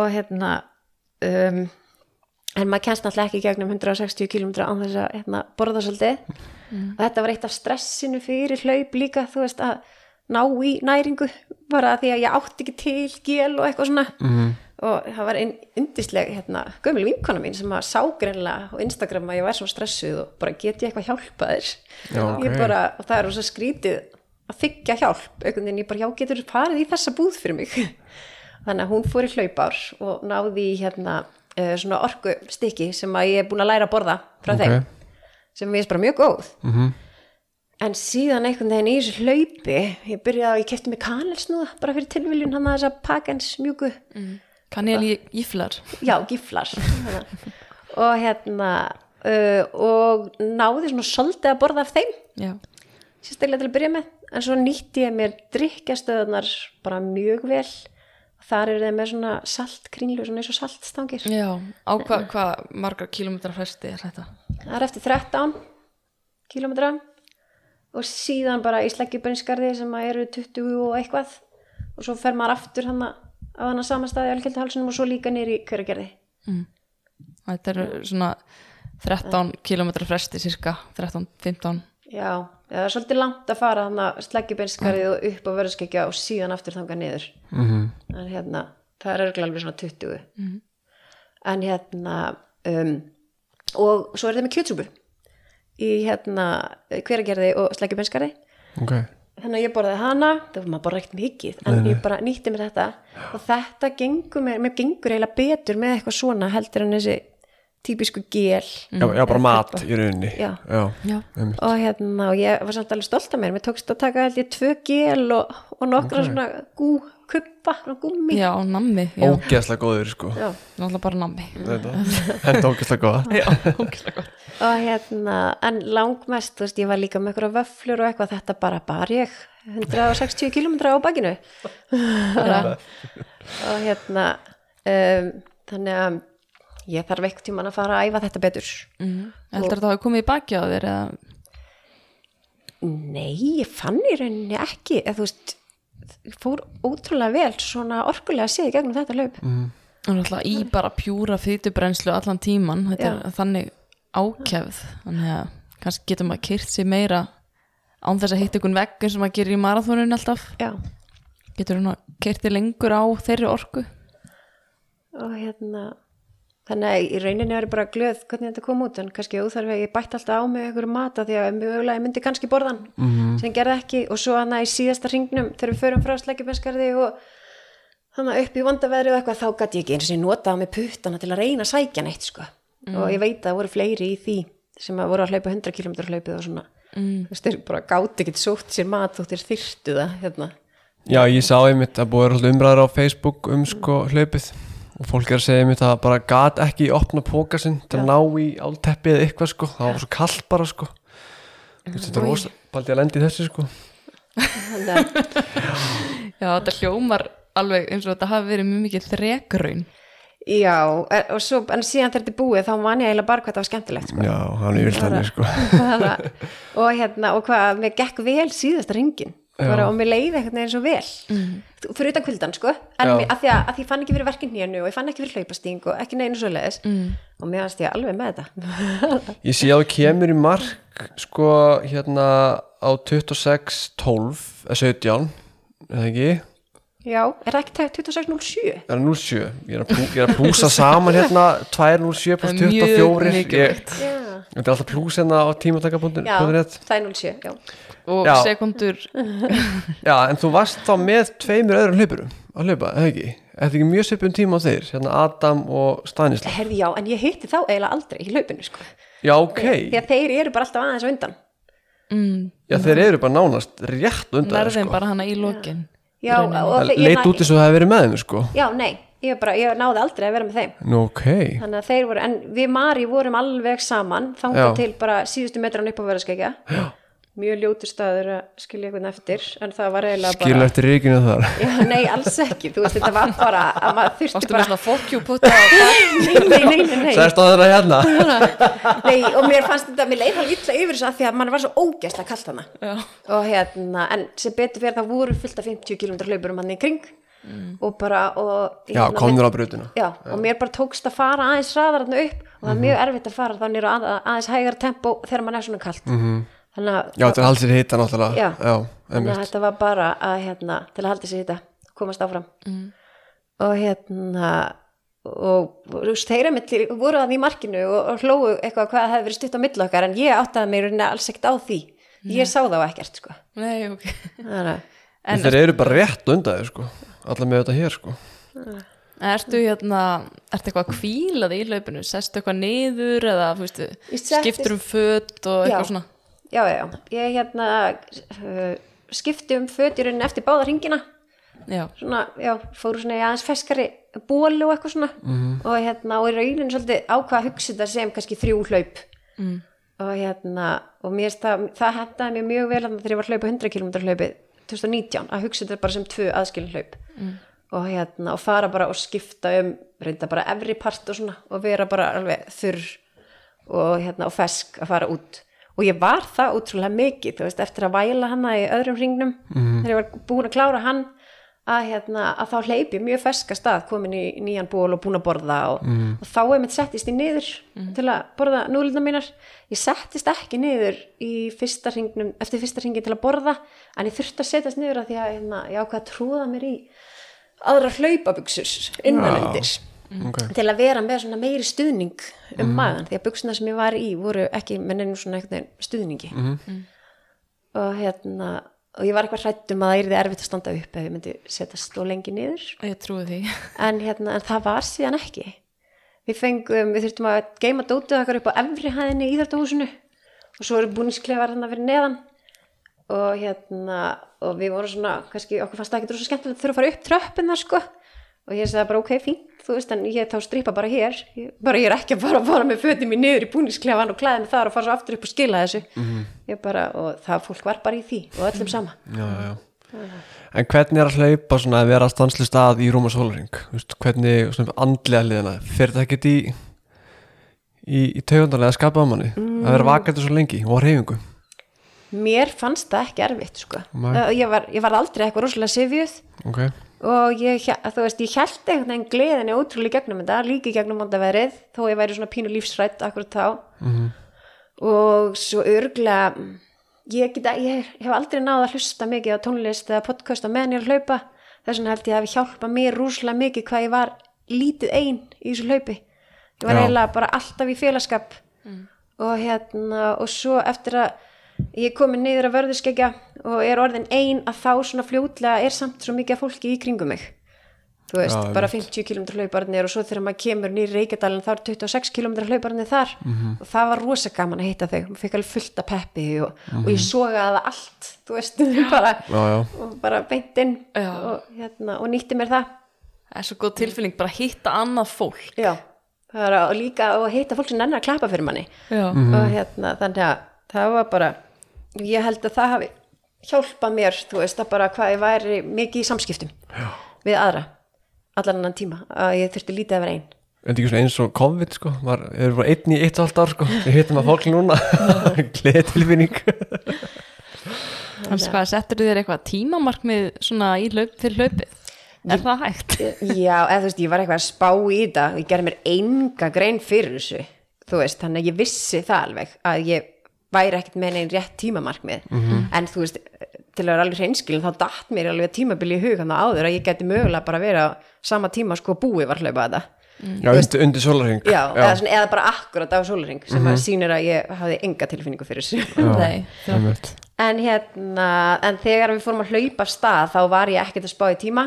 S3: Og hérna, um, en maður kennst náttúrulega ekki í gegnum 160 km án þess að hérna, borða svolítið. Og þetta var eitt af stressinu fyrir hlaup líka, þú veist, að ná í næringu, bara af því að ég átti ekki til gél og eitthvað svona
S2: Mhm.
S3: og það var einn yndisleg hérna, gömul vinkona mín sem að sá greinlega á Instagram að ég var svo stressuð og bara get ég eitthvað hjálpa þér
S2: Já, ok.
S3: Ég bara, og það er svo skrítið að þykja hjálp einhvern veginn ég bara, já getur farið í þessa búð fyrir mig (laughs) þannig að hún fór í hlaupár og náði í hérna eh, svona orku stykki sem að ég er búin að læra að borða frá
S2: Ok.
S3: þeim sem við erum bara mjög góð en síðan einhvern veginn í þessu hlaupi ég byrjaði að ég kefti mig kanelsnúða bara fyrir tilviljun hann að þessa pakens mjúku
S1: Kanel íflar.
S3: já, giflar hérna. og hérna uh, og náði svona svolítið að borða af þeim
S1: Já.
S3: sérstaklega til að byrja með en svo nýtti ég mér drikkjastöðunar bara mjög vel þar eru þeir með svona saltkringlu svona eins og saltstangir
S1: Já, á hva- hvað margar kilometrar fresti er þetta?
S3: það er eftir 13 kilometra og síðan bara í sleggjubönskarði sem að eru 20 og eitthvað og svo fer maður aftur hann á hann að samanstaði alkjöldahálsunum og svo líka nýri hverjargerði
S1: Þetta eru svona 13 kilometrar fresti cirka, 13-15.
S3: Já, já, það er svolítið langt að fara þannig að sleggjubeinskarið og upp á vörðskekja og síðan aftur þangað niður. Mm -hmm. En hérna, það er örgulega alveg svona 20. En hérna, um, og svo er þetta með kjötsúpu í hérna hveragerði og sleggjubeinskarið.
S2: ok
S3: Þannig að ég borðaði hana, það var maður borða ekkert mikið, en ég bara nýtti mér þetta og þetta gengur mér, mér gengur eiginlega betur með eitthvað svona heldur en þessi típisku gel.
S2: já, já, bara mat í rauninni
S3: Mm. Já.
S1: Já.
S2: einmitt.
S3: og hérna, og ég var samt alveg stolt af mér mér tókst að taka held ég tvö gel og, og nokkra svona gú kuppa og gúmi
S1: Já, nammi. Já,
S2: ógeðslega góður sko
S3: Já.
S1: náttúrulega bara nammi.
S2: þetta
S3: (laughs)
S2: þetta er ógeðslega góða
S1: (laughs) Já, ógislega gott.
S3: og hérna, en langmest þú veist, ég var líka með einhverja vöflur og eitthvað þetta bara bar ég 160 km á bakinu Bara- og hérna um, þannig að ég þarf eitthvað tíman að fara að æfa þetta betur
S1: Heldur þetta hafi komið í baki á þér eða?
S3: Nei, ég fann í rauninni ekki eða þú veist, fór ótrúlega vel svona orkulega séð í gegnum þetta laup mm.
S1: Og náttúrulega í bara pjúra fytubrennslu allan tíman, þetta er þannig ákjæfð, þannig að kannski getur maður kyrt sig meira án þess að hitta einhvern veggum sem maður gerir í marathónun alltaf,
S3: Já,
S1: getur hún að kyrti lengur á þeirri orku
S3: og hérna þannig að í rauninni er ég bara glöð hvernig þetta kom út, en kannski óþarf að ég bætt alltaf á mig einhverju mata því að mjögulega ég myndi kannski borðan, mm. sem ég gerði ekki og svo hann að í síðasta hringnum þegar við förum frá sleggjubenskarði og þannig að upp í vandaveðri og eitthvað þá gæti ég ekki eins og ég notaði með puttana til að reyna að sækja neitt sko, og ég veit að það voru fleiri í því sem að voru að hlaupa 100 km hlaupið og svona, mm. þú veist, þeir bara gáti ekkert sótt sér mat þótt þeir þyrtu það hérna.
S2: Já, ég sá einmitt að búið alltaf umræður á Facebook um sko hlaupið og fólk er að segja einmitt að bara gat ekki opna póka sinn til að ná í álteppi eða eitthvað sko, það var svo kallt bara sko Þú veist, Þetta er rosa, baldi að lendi þessu sko
S3: Þannig að-
S1: Já, þetta hljómar alveg eins og þetta hafi verið mjög mikið þrekraun
S3: Já, er- og svo, en síðan þegar þetta er búið þá man ég eiginlega bara hvað það var skemmtilegt
S2: (laughs)
S3: sko.
S2: Já, hann er vilt hann sko.
S3: Bara- og hérna, og hvað, mér gekk vel síðasta ringin bara, og mér leiði einhvern veginn svo vel mm. fyrir utan kuldan sko
S2: Já.
S3: en mér, að, því að, að því ég fann ekki fyrir verkinn hérnu og ég fann ekki fyrir hlaupasting og ekki neinu svo leiðis mm. og mér varst ég alveg með þetta
S2: Ég sé að þú kemur í mark sko hérna á 26, 12 eh, 17, eða ekki
S3: já, er það ekki tægt 26.07
S2: Það er 07, ég er að, plú, ég er að (laughs) plúsa saman hérna 207
S1: Það er
S2: pluss
S1: mjög
S2: 24 ég,
S1: mikilvægt.
S3: já,
S2: Þetta er alltaf plús hérna á tímatakapunktin
S3: já það er 07 já.
S1: og
S2: Já.
S1: sekundur
S2: Já, en þú varst þá með tveimur öðrum hlaupurum að hlaupa, eða ekki? Þetta ekki mjög svipum tíma á þeir, hérna Adam og Stanisla
S3: herði já, en ég hitti þá eiginlega aldrei í hlaupinu sko
S2: Já, ok,
S3: því að þeir eru bara alltaf aðeins á undan
S1: mm,
S2: já þeir eru bara nánast rétt undan þér,
S1: nærðin
S2: sko
S1: bara hana í lokin
S3: já, og,
S2: Það
S3: og, ég
S2: leit
S3: na-
S2: út eins og það hefði verið með þeim, sko
S3: já, nei, ég, bara, ég náði aldrei að vera með þeim
S2: Nú, ok
S3: þannig að þeir voru, en við Mari vorum alveg saman, þangað
S2: Já.
S3: til bara síðustu metran upp á verðaskækja mjög ljótur staður að skilja einhvern eftir en það var eiginlega bara
S2: Skilur eftir reikinu þar
S3: Já, nei, alls ekki, þú veist, þetta var bara að maður þurfti
S1: Varstu með
S3: bara
S1: svona fokkjúputta á
S3: (laughs)
S1: það
S3: nei, nei, nei, nei, nei.
S2: Sæst á þeirra hérna
S3: nei, og mér fannst þetta, mér leið hann illa yfir þess að því að mann var svo ógæsla kallt hana
S1: Já.
S3: og hérna, en sem betur fyrir það voru fullt af 50 km hlaupur um hann í kring og bara og,
S2: Mm. Já,
S3: hérna,
S2: komnur á brutina
S3: Já, og mér bara tókst að fara aðeins hraðar þarna upp og það er
S2: Mhm.
S3: mjög erfitt að fara þannig að, aðeins hægara tempó þegar mann er svona kalt -hmm. þannig, að,
S2: Mhm. Já, þetta er halsir hita náttúrulega
S3: Já. þannig
S2: einmitt.
S3: að þetta var bara að, hérna, til að halda sér í þetta komast áfram
S1: Mhm.
S3: mm. og hérna og og þú veist, þeirra millir voru að því markinu og, og hlóu eitthvað hvað hefði verið stutt á milli okkar en ég áttaði mig í rauninni alls ekkert á því
S1: Mhm.
S3: ég sá þá ekkert sko
S1: Nei, ok
S3: þannig að
S1: En
S2: Þeir eru bara rétt undan þér, sko Alla með þetta hér, sko
S1: ertu hérna, ertu eitthvað kvílað í hlaupinu, sestu eitthvað niður eða, þú veistu,
S3: Ég settist-
S1: skiptur um föt og eitthvað
S3: Já.
S1: svona
S3: já, já, já, ég hérna uh, skipti um föt í rauninni eftir báða hringina
S1: Já,
S3: svona, já, fóru svona í aðeins feskari bólu og eitthvað svona og hérna, og í raunin svolítið ákvað að hugsa þetta sem kannski þrjú hlaup
S1: Mm.
S3: og hérna, og mér finnst það, það hendaði mér mjög vel þarna þegar ég var að hlaupa 100 km hlaupið 2019, að hugsa þetta bara sem tvö aðskilin hlaup og hérna, og fara bara og skipta um reynda bara efri part og svona og vera bara alveg þurr og hérna, og fesk að fara út og ég var það útrúlega mikið þú veist, eftir að væla hana í öðrum ringnum þegar ég var búin að klára hann að, hérna, að þá hleyp ég mjög ferska stað komin í nýjan ból og búin að borða og, og þá er mitt settist ég niður til að borða núlina mínar ég settist ekki niður í fyrsta ringnum, eftir fyrsta ringin til að borða en ég þurfti að setjast niður að því að hérna, ég ákvað að trúða mér í aðra hlaupabuxur innanundir
S2: Ok
S3: til að vera með svona meiri stuðning um magan, því að buksuna sem ég var í voru ekki með nefnum svona einhvern veginn stuðningi og hérna og ég var eitthvað hrætt um að það yrði erfitt að standa upp ef ég myndi setja stó lengi niður
S1: ég trúi því (laughs)
S3: en, hérna, en það var síðan ekki við fengum, við þurftum að geima dótið okkar upp á efri hæðinni í Íðardóhúsinu og svo eru búningsklefar hann að vera neðan og hérna og við vorum svona, kannski okkur fannst það ekki rosa skemmtilegt að þurfa að fara upp tröppina sko og ég sagði bara ok, fínt, þú veist en ég þá strýpa bara hér, ég, bara ég er ekki að fara að fara með fötum mín niður í búningsklefan og klæði mig þar og fara svo aftur upp og skila þessu ég bara, og það fólk var bara í því og öllum sama
S2: já, já. En hvernig er að hlaupa svona að vera að stanslu stað í Rúma Sólring? Hvernig svona andlega liðina? Fyrir það ekkert í í, í taugundarlega að skapa á manni að vera vakandi svo lengi og á reyfingu
S3: mér fannst það ekki erfitt sko.
S2: Nei.
S3: Ö, ég, var, ég var aldrei eitthvað rosalega sifjuð
S2: ok,
S3: og ég, hé- þú veist, ég held einhvern veginn gleðinni ótrúlega í gegnum þetta, líka í gegnum mondaverið, þó ég væri svona pínu lífsrætt akkurat þá og svo örglega ég, geta, ég hef aldrei náð að hlusta mikið á tónlist eða podcast á meðan ég er að hlaupa þess vegna held ég að hafi hjálpað mér rúslega mikið hvað ég var lítið ein í þessu hlaupi ég var
S2: Já.
S3: eiginlega bara alltaf í félagskap og hérna og svo eftir að ég er komin niður að vörðuskegja og er orðin ein að þá svona fljótlega er samt svo mikið af fólki í kringum mig þú veist,
S2: Já,
S3: bara 50 km hlauparnir og svo þegar maður kemur nýri Reykjadalinn þá er 26 km hlauparnir þar og það var rosa gaman að hitta þau maður fekk alveg fullt af peppi og, og ég sogaði það allt, þú veist (laughs) bara,
S2: já, já,
S3: og bara beint inn
S1: Já.
S3: og, hérna, og nýtti mér það
S1: Það er svo góð tilfinning, bara hitta annað fólk
S3: Já. Bara, og líka og hitta fólk sem nennar að klappa fyrir manni
S1: Já,
S3: og hérna, þannig að það var bara ég held að það hafi hjálpa mér, þú veist, að bara hvað ég væri mikið í samskiptum Já. við aðra, allan annan tíma að ég þurfti lítið að vera einn
S2: En þetta er ekki svona eins og COVID sko, maður er bara einn í eitt og halvt ár sko, við hittum að fólk núna, (laughs) gleði tilfinning.
S1: Þannig hvað, settur þér eitthvað tímamarkmið svona í laup, fyrir laupið? Er það hægt?
S3: Já, eða þú veist, ég var eitthvað að spá í þetta og ég gerði mér enga grein fyrir þessu þú veist, þannig að ég vissi það alveg að ég væri ekkert með neinn rétt tímamarkmið en þú veist, til að vera alveg hreinskilin þá datt mér alveg tímabili í hugan þá áður að ég geti mögulega bara verið á sama tíma sko búið var hlaupa þetta
S2: Já, undir, undir sólarheng.
S3: Já, Eða, svona, eða bara akkurat á sólring sem að sýnir að ég hafði enga tilfinningu fyrir þessu (laughs)
S1: Nei, það
S2: Einmitt.
S3: en hérna, en þegar við fórum að hlaupa af stað þá var ég ekkert að spá í tíma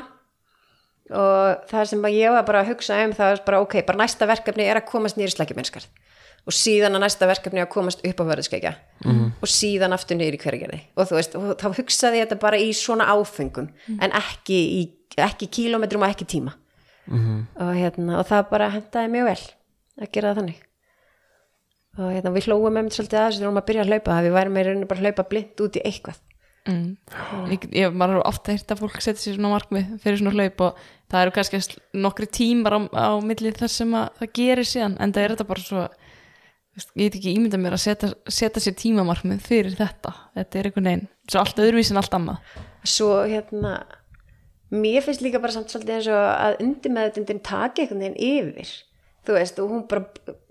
S3: og það sem að ég var bara að hugsa um það var bara ok, bara næsta verkefni er að komast nýri slækjuminnskar og síðan að næsta verkefni er að komast upp á vörðskeikja og síðan aftur niður í hverjargerði og þú veist, og þá hugsaði ég þetta bara í svona áfengum en ekki í ekki kílómetrum og ekki tíma og hérna, og það bara hendaði mjög vel að gera það þannig og hérna, við hlóum einmitt svolítið að þessu þegar við vorum að byrja að hlaupa að við værum með rauninu bara að hlaupa blind út í eitthvað
S1: mm. ég, ég, maður er ofta hýrt að fólk setja sér svona markmið fyrir svona hlaup og það eru kannski sl- nokkri tímar á, á milli þar sem að það gerir síðan en það er þetta bara svo veist, ég get ekki ímynda mér að setja, setja sér tímamarkmið fyrir þetta þetta er einhvern veginn, svo allt öðruvísin allt annað
S3: svo hérna mér finnst líka bara samt svolítið eins og að undirmeðutundin taki einhvern veginn yfir þú veist, og hún bara,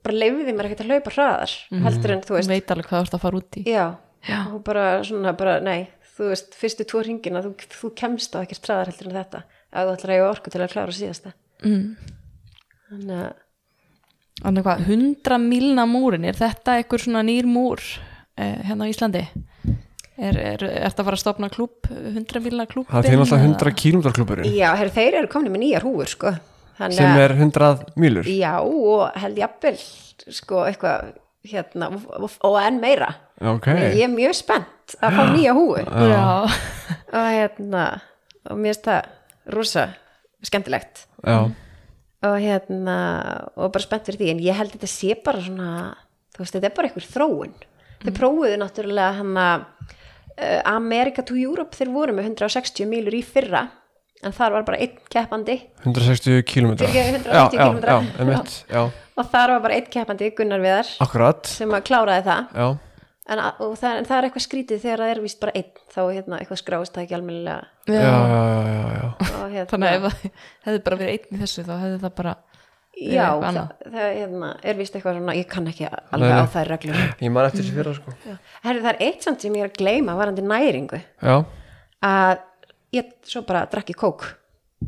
S3: bara leifiði mér ekkert að hlaupa hraðar heldur en þú
S1: Hún
S3: veist,
S1: veit alveg hvað þú ert að fara út í
S3: já, Mhm. já. hún bara svona bara, nei, þú veist, fyrstu tvo ringina þú, þú kemst á ekkert hraðar heldur en þetta að þú ætlar að eiga orku til að klára síðasta mm. þannig að
S1: Þannig hvað, 100 milna múrin, er þetta eitthvað svona nýr múr eh, hérna á Íslandi? Er, er, er þetta að fara að stopna klúb, 100 milna klúb?
S2: Það finnir alltaf 100 kílómetrar klubburinn
S3: Já, herr, þeir eru komin með nýjar húfur sko. Þannig
S2: sem
S3: að-
S2: er 100 mýlur.
S3: Já, og held jafnvel sko, eitthvað hérna, og, og- og enn meira
S2: Ok,
S3: Ég er mjög spennt að fá nýja húfu
S1: Já,
S3: og hérna og mér finnst það rosa skemmtilegt
S2: já,
S3: og hérna, og bara spennt fyrir því en ég held þetta sé bara svona þú veist, þetta er bara einhver þróun þeir prófuðu náttúrulega hann að eh, America to Europe þeir voru með 160 mýlur í fyrra en þar var bara einn keppandi
S2: 160 kílómetrar.
S3: Fyrirgefðu, 180
S2: Já,
S3: kílómetra.
S2: Já, já, einmitt, já,
S3: og þar var bara einn keppandi Gunnar Viðar
S2: akkurat,
S3: sem að kláraði það
S2: já.
S3: en, að- og það, en það er eitthvað skrítið þegar það er víst bara einn þá hérna, eitthvað skráist það ekki almennilega
S2: Já, já, já, já, já.
S3: og, hérna,
S1: (laughs) þannig að ef það hefði bara verið einn í þessu þá hefði það bara verið
S3: já,
S1: eitthvað
S3: það,
S1: annað.
S3: það hérna, er víst eitthvað svona ég kann ekki
S2: Nei,
S3: alveg
S2: nei.
S3: á þær reglum
S2: Ég man eftir þessu fyrra sko.
S3: Herri, það er eitt samt sem ég er að gleyma varandi næringu
S2: Já,
S3: að ég svo bara drakk í kók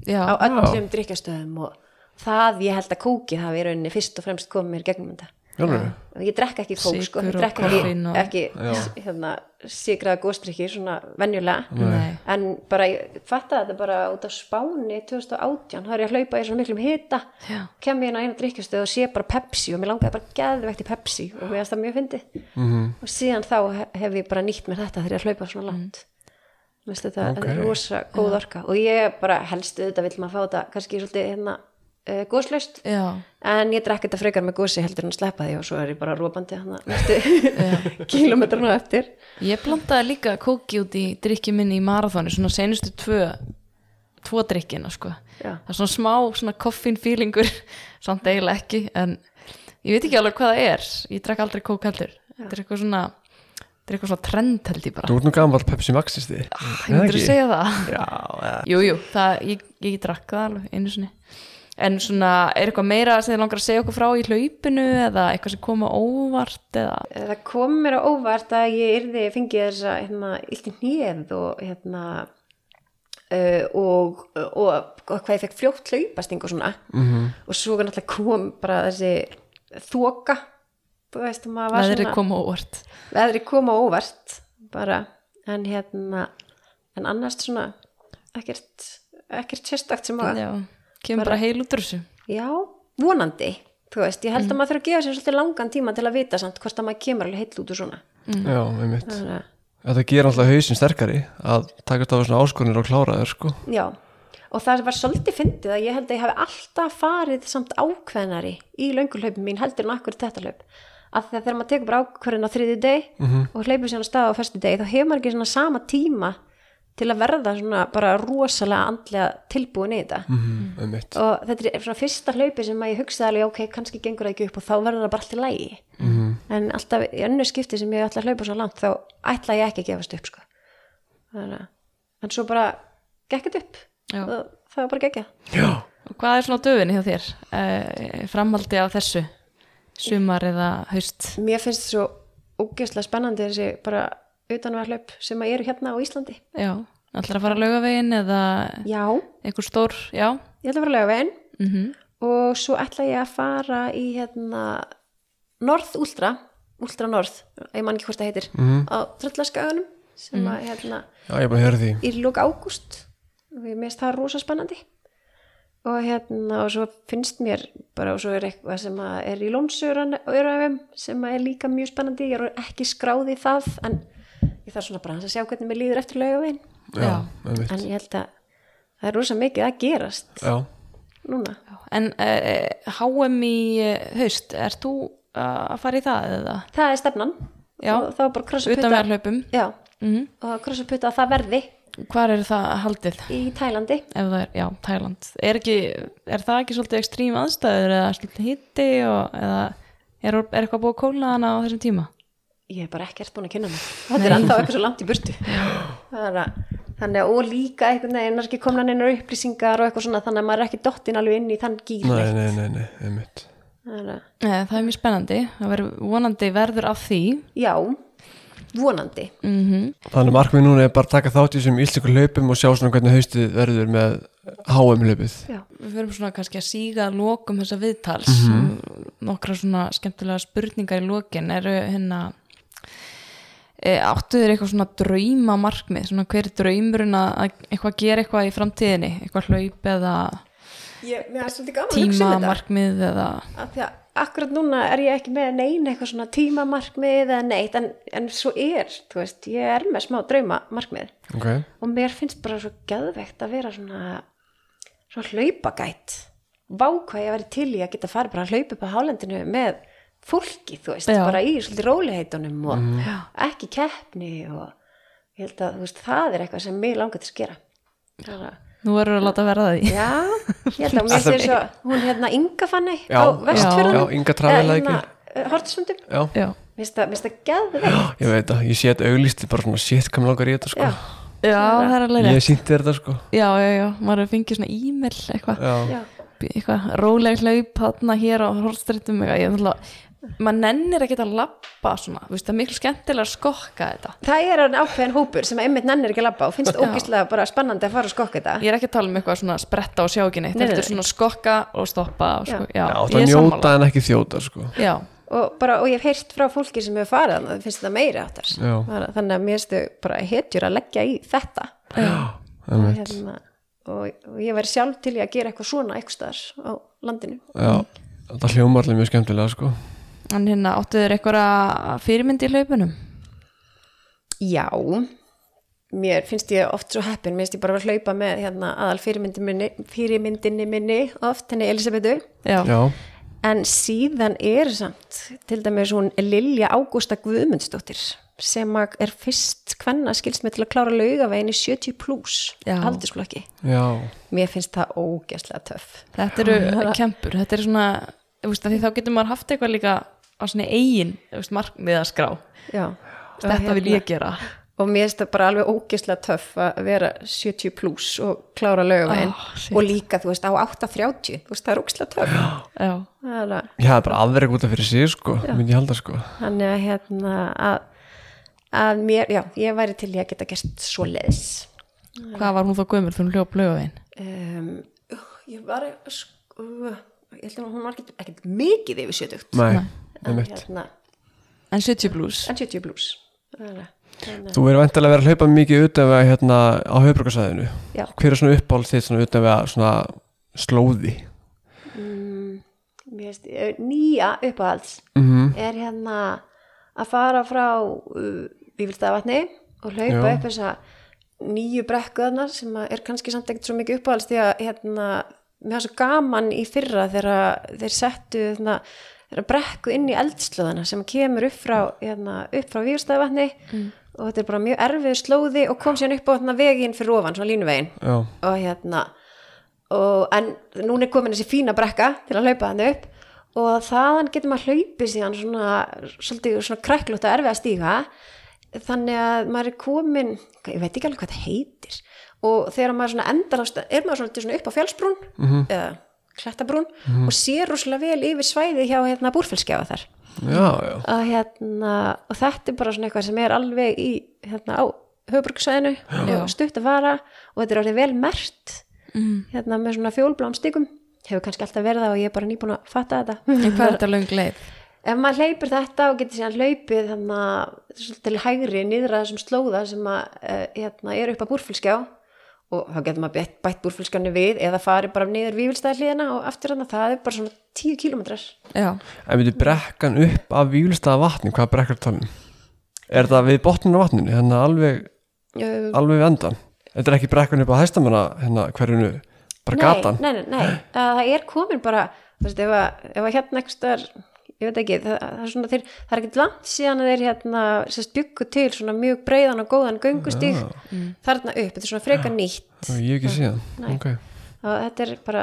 S1: Já,
S3: á öllum drikkjastöðum og það ég held að kókið hafi í rauninni fyrst og fremst komið mér í gegnum þetta
S2: jólum við.
S3: og ég drekka ekki kók
S1: Sykur
S3: sko, ég
S1: og
S3: drekka ekki,
S1: koffín og-
S3: ekki hérna, sigraða góstrykki svona venjulega
S1: Nei.
S3: en bara ég fattaði þetta bara út af spáni 2018, þá er ég að hlaupa í svona miklum hita
S1: Já.
S3: kem ég inn á eina drikkjastöð og sé bara Pepsi og mér langaði bara geðvegt í Pepsi og mér finnst það mjög fyndið -hmm. og síðan þá he- hef ég bara nýtt mér þetta þegar ég er að hlaupa svona langt mm. Vistu, þetta, þetta er
S2: Ok.
S3: rosa góð orka og ég bara helst auðvitað vill maður fá þetta kannski svolítið hérna uh, góðslaust
S1: já,
S3: en ég drekk þetta frekar með gósi heldur en að sleppa því og svo er ég bara rópandi hann (laughs) næstu kílómetrana eftir
S1: ég blandaði líka kóki út í drikki minni í marathónu, svona senustu tvö, tvo drikkina sko.
S3: Já.
S1: Það er svona smá svona koffin feelingur, (laughs) samt eiginlega ekki, en ég veit ekki alveg hvað það er, ég drekk aldrei kók heldur. Þetta er eitthvað svona, þetta er eitthvað svona trend held ég bara.
S2: Þú ert nú gammal Pepsi Maxist þið.
S3: Ah,
S1: Ég myndir að segja það
S2: Já, eða.
S1: Jú, jú, það, ég, ég drakk það alveg einu sinni En svona, er eitthvað meira sem þið langar að segja okkur frá í hlaupinu eða eitthvað sem koma óvart eða
S3: Eh, það kom mér á óvart að ég yrði fengið þess að hérna, illt í hnið og hérna uh, og, og, og hvað ég fekk fljótt hlaupasting og svona -hmm. og svo náttúrulega kom bara þessi þoka þú veist, maður var
S1: veðrið
S3: svona
S1: koma óvart
S3: veðri kom á óvart bara, en hérna en annars svona ekkert, ekkert sérstakt sem að
S1: Já, kemur bara heil út úr þessu
S3: Já, vonandi þú veist, ég held að maður þurfa að gefa sér svolítið langan tíma til að vita samt hvort að maður kemur alveg heill út úr svona
S2: já, einmitt.
S3: Þannig að,
S2: Þetta gerir alltaf hausinn sterkari að takast á svona áskonir og klára þér sko.
S3: já og það var svolítið fyndið að ég held að ég hafi alltaf farið samt ákveðnari í löngulöpum mín heldur en akkur þetta löp að þegar, þegar maður tekur bara ákvörðin á þriðju deg og hleypur sér á stað á föstu deg þá hefur maður ekki svona sama tíma til að verða svona bara rosalega andlega tilbúin í þetta
S2: um mitt
S3: og þetta er svona fyrsta hlaupi sem að ég hugsaði alveg ok, kannski gengur það ekki upp og þá verður það bara allt í lægi -hmm. en alltaf í önnu skipti sem ég ætla að hlaupa svo langt þá ætla ég ekki að gefast upp sko. þannig að en svo bara gekk þetta upp
S1: Já.
S3: og það var bara gekkja
S2: já,
S1: Og Hvað er svona á döfinni hjá þér? Uh, framhaldi á þessu sumar eða haust?
S3: mér finnst svo ógeðslega spennandi þessi bara utanvarhlaup sem að eru hérna á Íslandi
S1: Já, ætlar að fara að laugavegin eða
S3: já,
S1: einhver stór, já
S3: ég ætla að fara að lega veginn
S1: mm
S3: og svo ætla ég að fara í hérna Norð Ultra, Ultra Norð ég man ekki hvort það heitir, á Tröllaskaganum sem
S1: Mhm.
S3: að hérna
S2: já ég er bara að höra því
S3: í lók ágúst og ég meðst það rosa spennandi og hérna og svo finnst mér bara og svo er eitthvað sem að er í lónsuröfum sem að er líka mjög spennandi ég er ekki skráði það en ég þarf svona bara aðeins að sjá hvernig mér líður eftir laugavegin
S2: já,
S1: Já.
S2: um mitt
S3: en ég held að það er rosa mikið að gerast
S2: já,
S3: núna
S1: En uh, HM í eh, haust, ert þú eh, að fara í það eða?
S3: það er stefnan
S1: Já.
S3: og það var bara krossa
S1: Utan
S3: putta
S1: verð hlaupum
S3: já,
S1: mm
S3: og krossa putta að það verði
S1: Hvar er það haldið?
S3: í Tælandi
S1: Ef það er, já, Tæland er, ekki, er það ekki svolítið ekstrím aðstæður eða svolítið hitti og, eða er, er eitthvað búið að kólna hana á þessum tíma?
S3: ég er bara ekkert búin að kynna mig þetta er ennþá eitthvað svo langt í burtu Það er að- þannig að og líka einhvern veginn er ekki komna neinar upplýsingar og eitthvað svona þannig að maður er ekki dottinn alveg inn í þann gíl
S2: nei, nei, nei, nei, um mitt
S3: Það er að-
S1: Nei, það er mjög spennandi, það verður vonandi verður af því
S3: já, vonandi
S1: mm
S2: Þannig að markmið núna er bara að taka þátt í þessum íslensku hlaupum og sjá svona hvernig haustið verður með HM hlaupið.
S3: já,
S1: Við verum svona kannski að síga að lokum þessa viðtals Mhm. nokkra svona skemmtilega spurningar í lokin eru hérna e, áttu þér eitthvað svona drauma markmið, svona hver er draumurinn að að eitthvað gera eitthvað í framtíðinni eitthvað hlaup eða
S3: ég, mér er
S1: um
S3: svolítið gaman um
S1: tíma markmið eða
S3: af því að akkurat núna er ég ekki með neina eitthvað svona tímamarkmið eða neitt en, en svo er, þú veist, ég er með smá draumamarkmið
S2: Ok,
S3: og mér finnst bara svo geðveikt að vera svona svona hlaupagætt vá hvað ég væri til í að geta farið bara að hlaupa upp á hálendinu með fólki, þú veist,
S1: Já.
S3: bara í svolítið róliheitunum og ekki keppni og ég held að þú veist, það er eitthvað sem mig langar til að skera Þannig að,
S1: Nú verður að láta verða því.
S3: já, ég held að mér
S2: Alltaf-
S3: sé svo hún hérna Inga Fanny
S2: Já,
S3: á hérna,
S2: já.
S3: Vestfjörðunum
S2: Já, Inga Travel, ekki?
S3: Hortisundum,
S2: já,
S1: Já.
S3: eh, mér finnst það- mér finnst það geðveikt
S2: ég veit að ég sé þetta auglýsti bara svona shit hvað mér langar í þetta sko.
S3: já,
S1: Já, það er alveg
S2: Ég
S1: rétt.
S2: hef sínt þér þetta sko.
S1: Já, já, já, maður er að fengið svona e-mail eitthvað,
S2: Já,
S3: já,
S1: eitthvað róleg hlaup þarna hér á horfstrættum eitthvað, ég ætla maður nennir ekki að lappa svona, þú veist, það er miklu skemmtilega að skokka þetta.
S3: það er hann ákveðin hópur sem að einmitt nennir ekki að labba og finnst ógislega bara spennandi að fara að skokka þetta
S1: Ég er ekki að tala um eitthvað svona spretta og sjá ekki neitt,
S3: Nei, nei,
S1: þetta
S3: nei.
S1: er svona skokka og stoppa og sko, já,
S2: já
S1: ég
S2: það
S1: er
S2: njóta
S1: sammála.
S2: en ekki þjóta sko.
S1: Já,
S3: og, bara, og ég hef heyrt frá fólki sem hefur farið þannig að finnst þetta meira áttar
S2: Já.
S3: þannig að mér stu bara hetjur að leggja í þetta
S2: Um,
S3: hérna, og, og ég væri sjálf til í að gera eitthvað svona eitthvað staðar á landinu
S2: já, það hljómar allir mjög skemmtilega sko.
S1: en hérna áttu þér eitthvað fyrirmynd í hlaupunum?
S3: já mér finnst ég oft svo heppin mér finnst ég bara að hlaupa með hérna, aðal fyrirmyndinni minni, fyrirmyndinni minni oft henni Elisabetu
S1: Já,
S2: Já,
S3: en síðan er samt til dæmis hún Lilja Ágústa Guðmundsdóttir sem að er fyrst hvenna skilst mig til að klára laugavegin í 70 pluss
S1: Já.
S3: aldursflokki
S2: já,
S3: Mér finnst það ógeðslega töff.
S1: þetta eru kempur, þetta eru svona, þú veist, af því þá getur maður haft eitthvað líka á svona eigin, þú veist, markmiðaskrá.
S3: Já.
S1: Þetta vil ég gera.
S3: hérna, Og mér finnst það bara alveg ógeðslega töff að vera 70 pluss og klára lögavegin.
S1: Ah, shit.
S3: og líka, þú veist, á 8.30, þú veist, það er ógeðslega töff.
S1: Já.
S3: Það er að,
S2: ég hef bara aðverjum út af fyrir sig sko, myndi ég halda sko.
S3: þannig að hérna, að, að mér, já, ég væri til í að geta gert svo leiðis.
S1: Hvað var hún þá gömur fyrir hún hljóp laugavegin?
S3: Um, ég var, sko, ég held að hún var ekkert, ekkert mikið yfir 70.
S2: Nei, um
S3: En, hérna,
S1: En 70 pluss?
S3: en 70 pluss. Þannig að, hérna.
S2: Þú er vantilega að vera að hlaupa mikið utan við hérna á höfbrukarsæðinu.
S3: Já.
S2: Hver er svona uppáhald þitt svona utan við að svona slóði?
S3: mér finnst, eh, nýja uppáhalds er hérna að fara frá uh, Bífylstaðavatni og hlaupa
S2: Já.
S3: upp þessa nýju brekkuðarnar sem að er kannski samt ekkert svo mikið uppáhalds því að hérna, mér var svo gaman í fyrra þegar þeir settu hérna, þeirra brekku inn í eldslóðana sem kemur upp frá, hérna, upp frá výrstaðvatni og þetta er bara mjög erfið slóði og kom síðan upp á hérna, veginn fyrir ofan, svona línuveginn
S2: já,
S3: og hérna og, en núna er komin þessi fína brekka til að hlaupa hann upp og þaðan getur maður hlaupið síðan svona, svolítið svona kræklótt að erfið að stíga þannig að maður er komin ég veit ekki alveg hvað það heitir og þegar maður svona endar á stað- er maður svolítið svona upp á fjálsbrún eða klettabrún og sér rosalega vel yfir svæðið hjá hérna búrfellskjafa þar
S2: já, já.
S3: og, hérna, og þetta er bara svona eitthvað sem er alveg í hérna, á höfbruksvæðinu og stutt að fara og þetta er orðið vel mert mm. hérna, með svona fjólblám stíkum hefur kannski alltaf verið það og ég er bara nýbúin að fatta þetta
S1: En (laughs) hvað er þetta löng leið?
S3: ef maður hleypur þetta og getur síðan hlaupið þannig að svolítið til hægri niður að þessum slóða sem að, eh, hérna, er upp að búrfylskjá og þá getur maður bætt, bætt búrfylskjánu við eða farið bara niður vífilstæðliðina og aftur þannig að það er bara svona 10 kilometrar
S1: Já,
S2: En við brekkan upp af výlstaða vatni, hvað brekkar talum? Er það við botninu á vatninu, hérna alveg,
S3: Eh,
S2: alveg við endan? Þetta er ekki brekkan upp á hæstamanna, hérna hverjunu, bara gatan?
S3: Nei, nei, nei, nei. Að það er komin bara, þú veist, ef að, ef að hérna ekki star, ég veit ekki, það, það er svona til, það er ekkert langt síðan að þeir hérna, sérst byggu til svona mjög breiðan og góðan göngustíg þarna upp, þetta er svona frekar nýtt
S2: Nei. Ég hef ekki síðan,
S3: Nei.
S2: ok.
S3: og þetta er bara,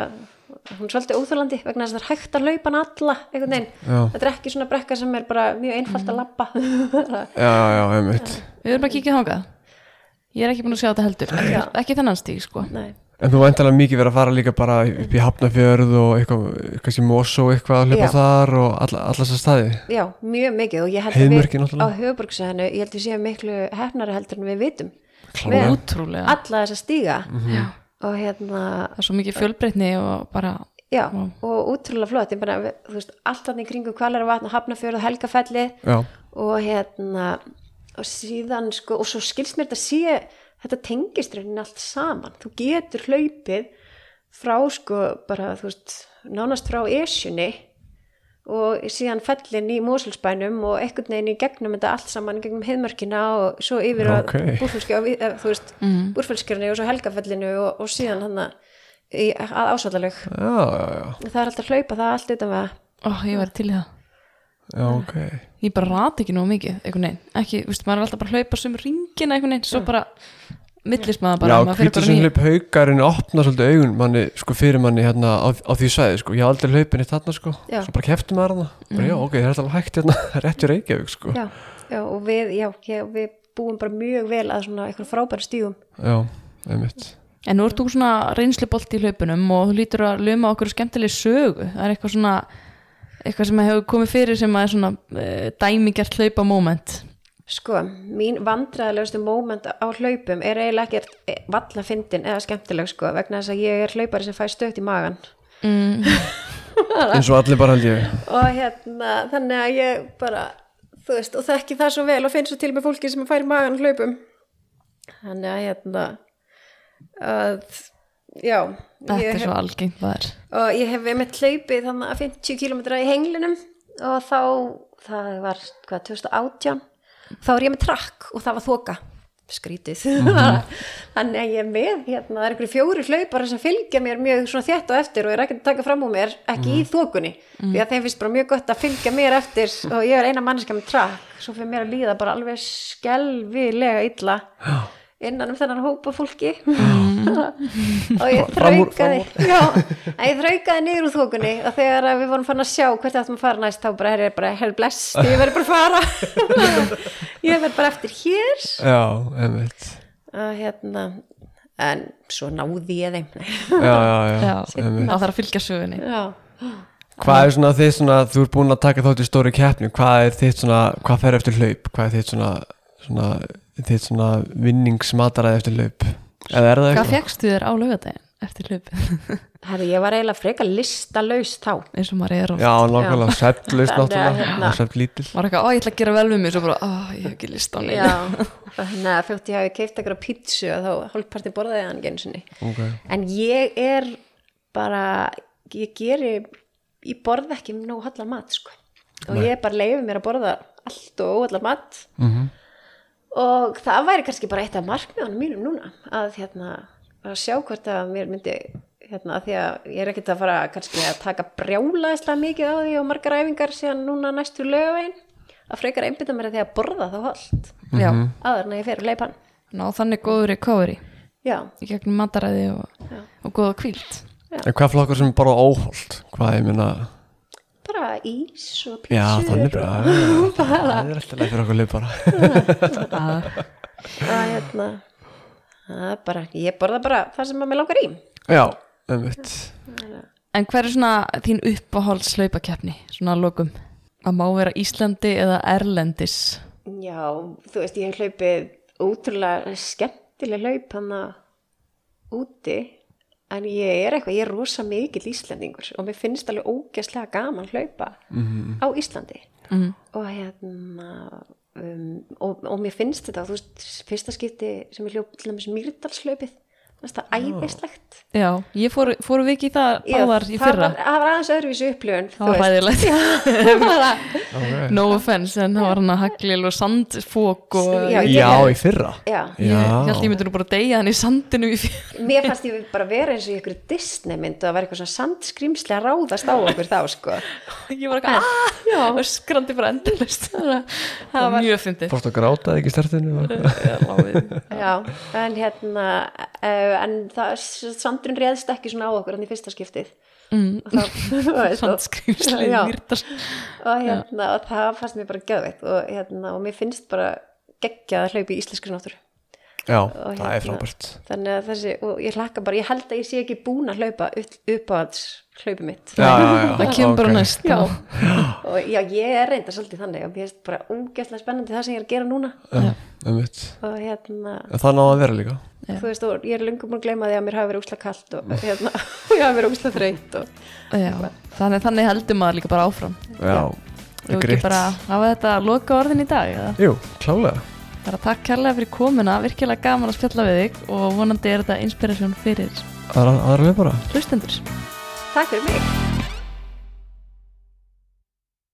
S3: hún er svolítið óþjólandi vegna þess að það er hægt að laupa hann alla, einhvern veginn.
S2: Já,
S3: Þetta er ekki svona brekka sem er bara mjög einfalt að labba. (laughs)
S2: já, já, já, einmitt.
S1: við erum að kíkja þangað Ég er ekki búin að sjá þetta heldur Ekki,
S3: Já.
S1: ekki þennan stíg, sko
S3: Nei,
S2: En þú væntalega mikið verið að fara líka bara upp í Hafnafjörð og eitthvað, kannski Mosó eitthvað að hlaupa
S3: Já.
S2: þar og alla, alla þessar staði.
S3: já, mjög mikið og ég held
S2: Heiðmörkin
S3: að við á
S2: náttúrulega.
S3: höfuborgsæðinu, ég held að við séum miklu hefnara heldur en við vitum.
S2: Klárlega.
S3: Með
S1: Útrúlega,
S3: alla þessa stíga
S1: Já.
S3: og hérna
S1: það er svo mikið fjölbreytni og bara
S3: já, og útrúlega flott ég bara, við- þú veist, allt hann í kringu kvalara vatn og hafnafjörð og helgafellið
S2: Já,
S3: og hérna og síðan sko, og svo skilst mér þetta sé þetta tengist raunin allt saman þú getur hlaupið frá sko, bara, þú veist nánast frá esjunni og síðan fellin í Mosulsbænum og einhvern veginn í gegnum þetta allt saman í gegnum heiðmörkina og svo yfir
S2: Ok.
S3: að búrfölskja og við- eh, þú veist, mm. og svo helgafellinu og, og síðan hann að í- að ásvallalög
S2: já, já, já,
S3: það er alltaf að hlaupa það allt utan vega
S1: Ó, ég var til í það
S2: já, ok.
S1: Ég bara rati ekki nógu mikið, einhvern veginn Ekki, viðst, maður er alltaf bara að hlaupa sem ringina einhvern veginn Svo bara millist maður bara
S2: já,
S1: maður fer bara
S2: hvítur sem
S1: ný-
S2: hlaup haugarinn opnar svolítið augun manni, sko, fyrir manni hérna á, á því svæði, sko. Ég haf aldrei hlaupin eitt þarna, sko.
S3: Já.
S2: Svo bara kefti maður hana. Bara,
S1: Mm.
S2: já, ok, það er alltaf hægt hérna, (laughs) rétt í Reykjavík, sko.
S3: já, já, og við, já, ég, við búum bara mjög vel að svona eitthvað frábæri stígum
S2: Já, einmitt.
S1: En nú ert þú svona reynslubolt í hlaupunum og þú lítur að luma okkur skemmtileg sögu. Það er eitthvað svona, eitthvað sem hefur komið fyrir sem að er svona uh, dæmigert hlaupamoment.
S3: sko, mín vandræðilegustu moment á hlaupum er eiginlega ekkert eh, valla fyndin eða skemmtileg sko vegna þess að ég er hlaupari sem fæ stökt í magan
S2: Eins og allir bara held ég.
S3: og hérna, þannig að ég bara þú veist, og þekki það svo vel og finn svo til með fólki sem fær í magan á hlaupum þannig að hérna að, já
S1: Þetta
S3: ég-
S1: er svo algengt maður.
S3: og ég hef einmitt hlaupið þannig að 50 km í henglinum og þá, það var hvað, 2018, þá er ég með trakk og það var þoka, skrítið (laughs) þannig að ég er með hérna, það er einhverju fjóri hlaupar sem fylgja mér mjög svona þétt á eftir og ég er ekkert að taka fram úr mér ekki í þokunni, því að þeim finnst bara mjög gott að fylgja mér eftir og ég er eina mannska með trakk, svo fyrir mér að líða bara alveg skelvilega illa innan um þennan hópa fólki (laughs) og
S2: Fram
S3: ég
S2: úr, fram
S3: þraukaði
S2: úr.
S3: (laughs) Já, en ég þraukaði niður úr þokunni og þegar að við vorum fann að sjá hvert áttum að fara næst þá bara er ég bara, herri bless, ég verður bara að fara (laughs) ég verður bara eftir hér
S2: Já, einmitt.
S3: og hérna en svo náði ég þeim
S2: Já, já, já.
S1: Já,
S2: einmitt.
S1: það þarf að fylgja sögunni.
S3: Já,
S2: Hvað er svona þitt svona, þú ert búin að taka þátt í stóri keppni, hvað er þitt svona, hvað fer eftir hlaup, hvað er þitt svona, svona, þitt svona vinningsmataræði eftir hlaup? Eða er það
S1: Hvað
S2: eitthvað?
S1: fegstu þér á laugadaginn eftir hlaupið? (laughs)
S3: herri, ég var eiginlega frekar listalaus þá
S1: Eins og maður er og
S2: Já, nákvæmlega, svefnlaust
S3: Þannig að,
S2: náttúrulega,
S3: hérna-
S2: og svefnlítill.
S1: maður er eitthvað, ó, ég ætla að gera vel við mig, svo bara, ó, ég hef ekki list á neina.
S3: Já, og (laughs) þannig að fjótt ég hafi keift eitthvað pítsu og þá hálfparti borðaði hann gensinni
S2: Ok,
S3: en ég er bara, ég geri ég borða ekki nóg hallar mat sko. og ég bara leifi mér að borða allt og óhallar mat
S2: Mhm.
S3: og það væri kannski bara eitt af markmiðanum mínum núna að hérna, bara sjá hvort að mér myndi hérna, því að ég er ekkert að fara kannski að taka brjálaðislega mikið á því og margar æfingar síðan núna næstu lögavegin að frekar einbytta mér að því að borða þá holdt
S1: já,
S2: Mhm.
S3: áður en að ég fer að leipa hann
S1: ná þannig góður recovery
S3: já,
S1: í gegnum mataræði og,
S3: Já.
S1: og góða kvíld
S2: En hvað flokkur sem bara óholt? Hvað ég minna?
S3: bara ís og pítsur
S2: Já,
S1: (laughs)
S2: þannig bara.
S3: bara
S2: Það er alltaf leið fyrir okkur leið bara.
S3: að hérna að bara, ég borða bara það sem að mér langar í
S2: Já, einmitt.
S1: en hver er svona þín uppáhalds hlaupakeppni svona að lokum að má vera Íslandi eða Erlendis
S3: já, þú veist, ég hef hlaupið ótrúlega skemmtileg hlaup hann úti en ég er eitthvað, ég er rosa mikill Íslandingur og mér finnst alveg ógæslega gaman hlaupa -hmm. á Íslandi -hmm. og hérna um, og, og mér finnst þetta, þú veist fyrsta skipti sem ég hljóp til dæmis Mýrdalslaupið, þú veist það æðislegt
S1: já, ég fór, fóru við ekki í það
S3: Já,
S1: báðar í
S3: það
S1: fyrra
S3: var, það var aðeins öðruvísu upplifun þú
S1: það var
S3: veist.
S1: hæðilegt (laughs)
S3: Bara-
S2: Okay.
S1: no offense, en það var hann að haglil og sandfók og
S3: Já,
S1: ég,
S3: ég-
S2: Já, í fyrra.
S3: Já,
S1: ég held ég
S2: Já.
S1: myndi nú bara að deyja hann í sandinu í fyrra (laughs)
S3: mér fannst ég bara vera eins og í ykkur Disney mynd og að vera eitthvað svona sandskrimsli að ráðast á okkur þá sko
S1: ég var ekki að já, skrandi bara endalist það var mjög fyndið
S2: Fórst að gráta ekki í stertinu.
S3: Já, en hérna uh, en það, sandrun réðst ekki svona á okkur hann í fyrsta skiptið
S1: Mm.
S3: og, það, (laughs) þú veist, og,
S1: sandskrýmsli
S3: Já.
S1: mýrdars
S3: og, hérna, og það fannst mér bara gæðveitt og, hérna, og mér finnst bara geggjað að hlaupa í íslenskri náttúru
S2: Já,
S3: Og
S2: það er
S3: hérna.
S2: frábært.
S3: þannig að þessi, og ég hlakka bara ég held að ég sé ekki búin að hlaupa upp á alls hlaupið mitt
S2: Já, já, já.
S1: það kemur bara
S2: ok.
S1: næst
S3: Já. og já, ég er reynda svolítið þannig og mér finnst bara ógeðslega spennandi það sem ég er að gera núna
S2: Já, einmitt.
S3: og hérna,
S2: En það náða að vera líka.
S1: Já.
S3: þú veist, og ég er lungum að gleyma því að mér hafi verið úsla kalt og hérna, (laughs) og ég hafi verið úsla þreytt og
S1: Já. þannig, þannig heldur maður líka bara áfram
S2: Já,
S1: Ef ekki
S2: greitt.
S1: bara hafa þetta loka orðin í dag eða?
S2: Jú, klálega.
S1: bara takk kærlega fyrir komuna, virkilega gaman að spjalla við þig og vonandi er þetta inspirasjón fyrir
S2: Aðra, aðra við bara.
S1: hlustendur
S3: takk fyrir mig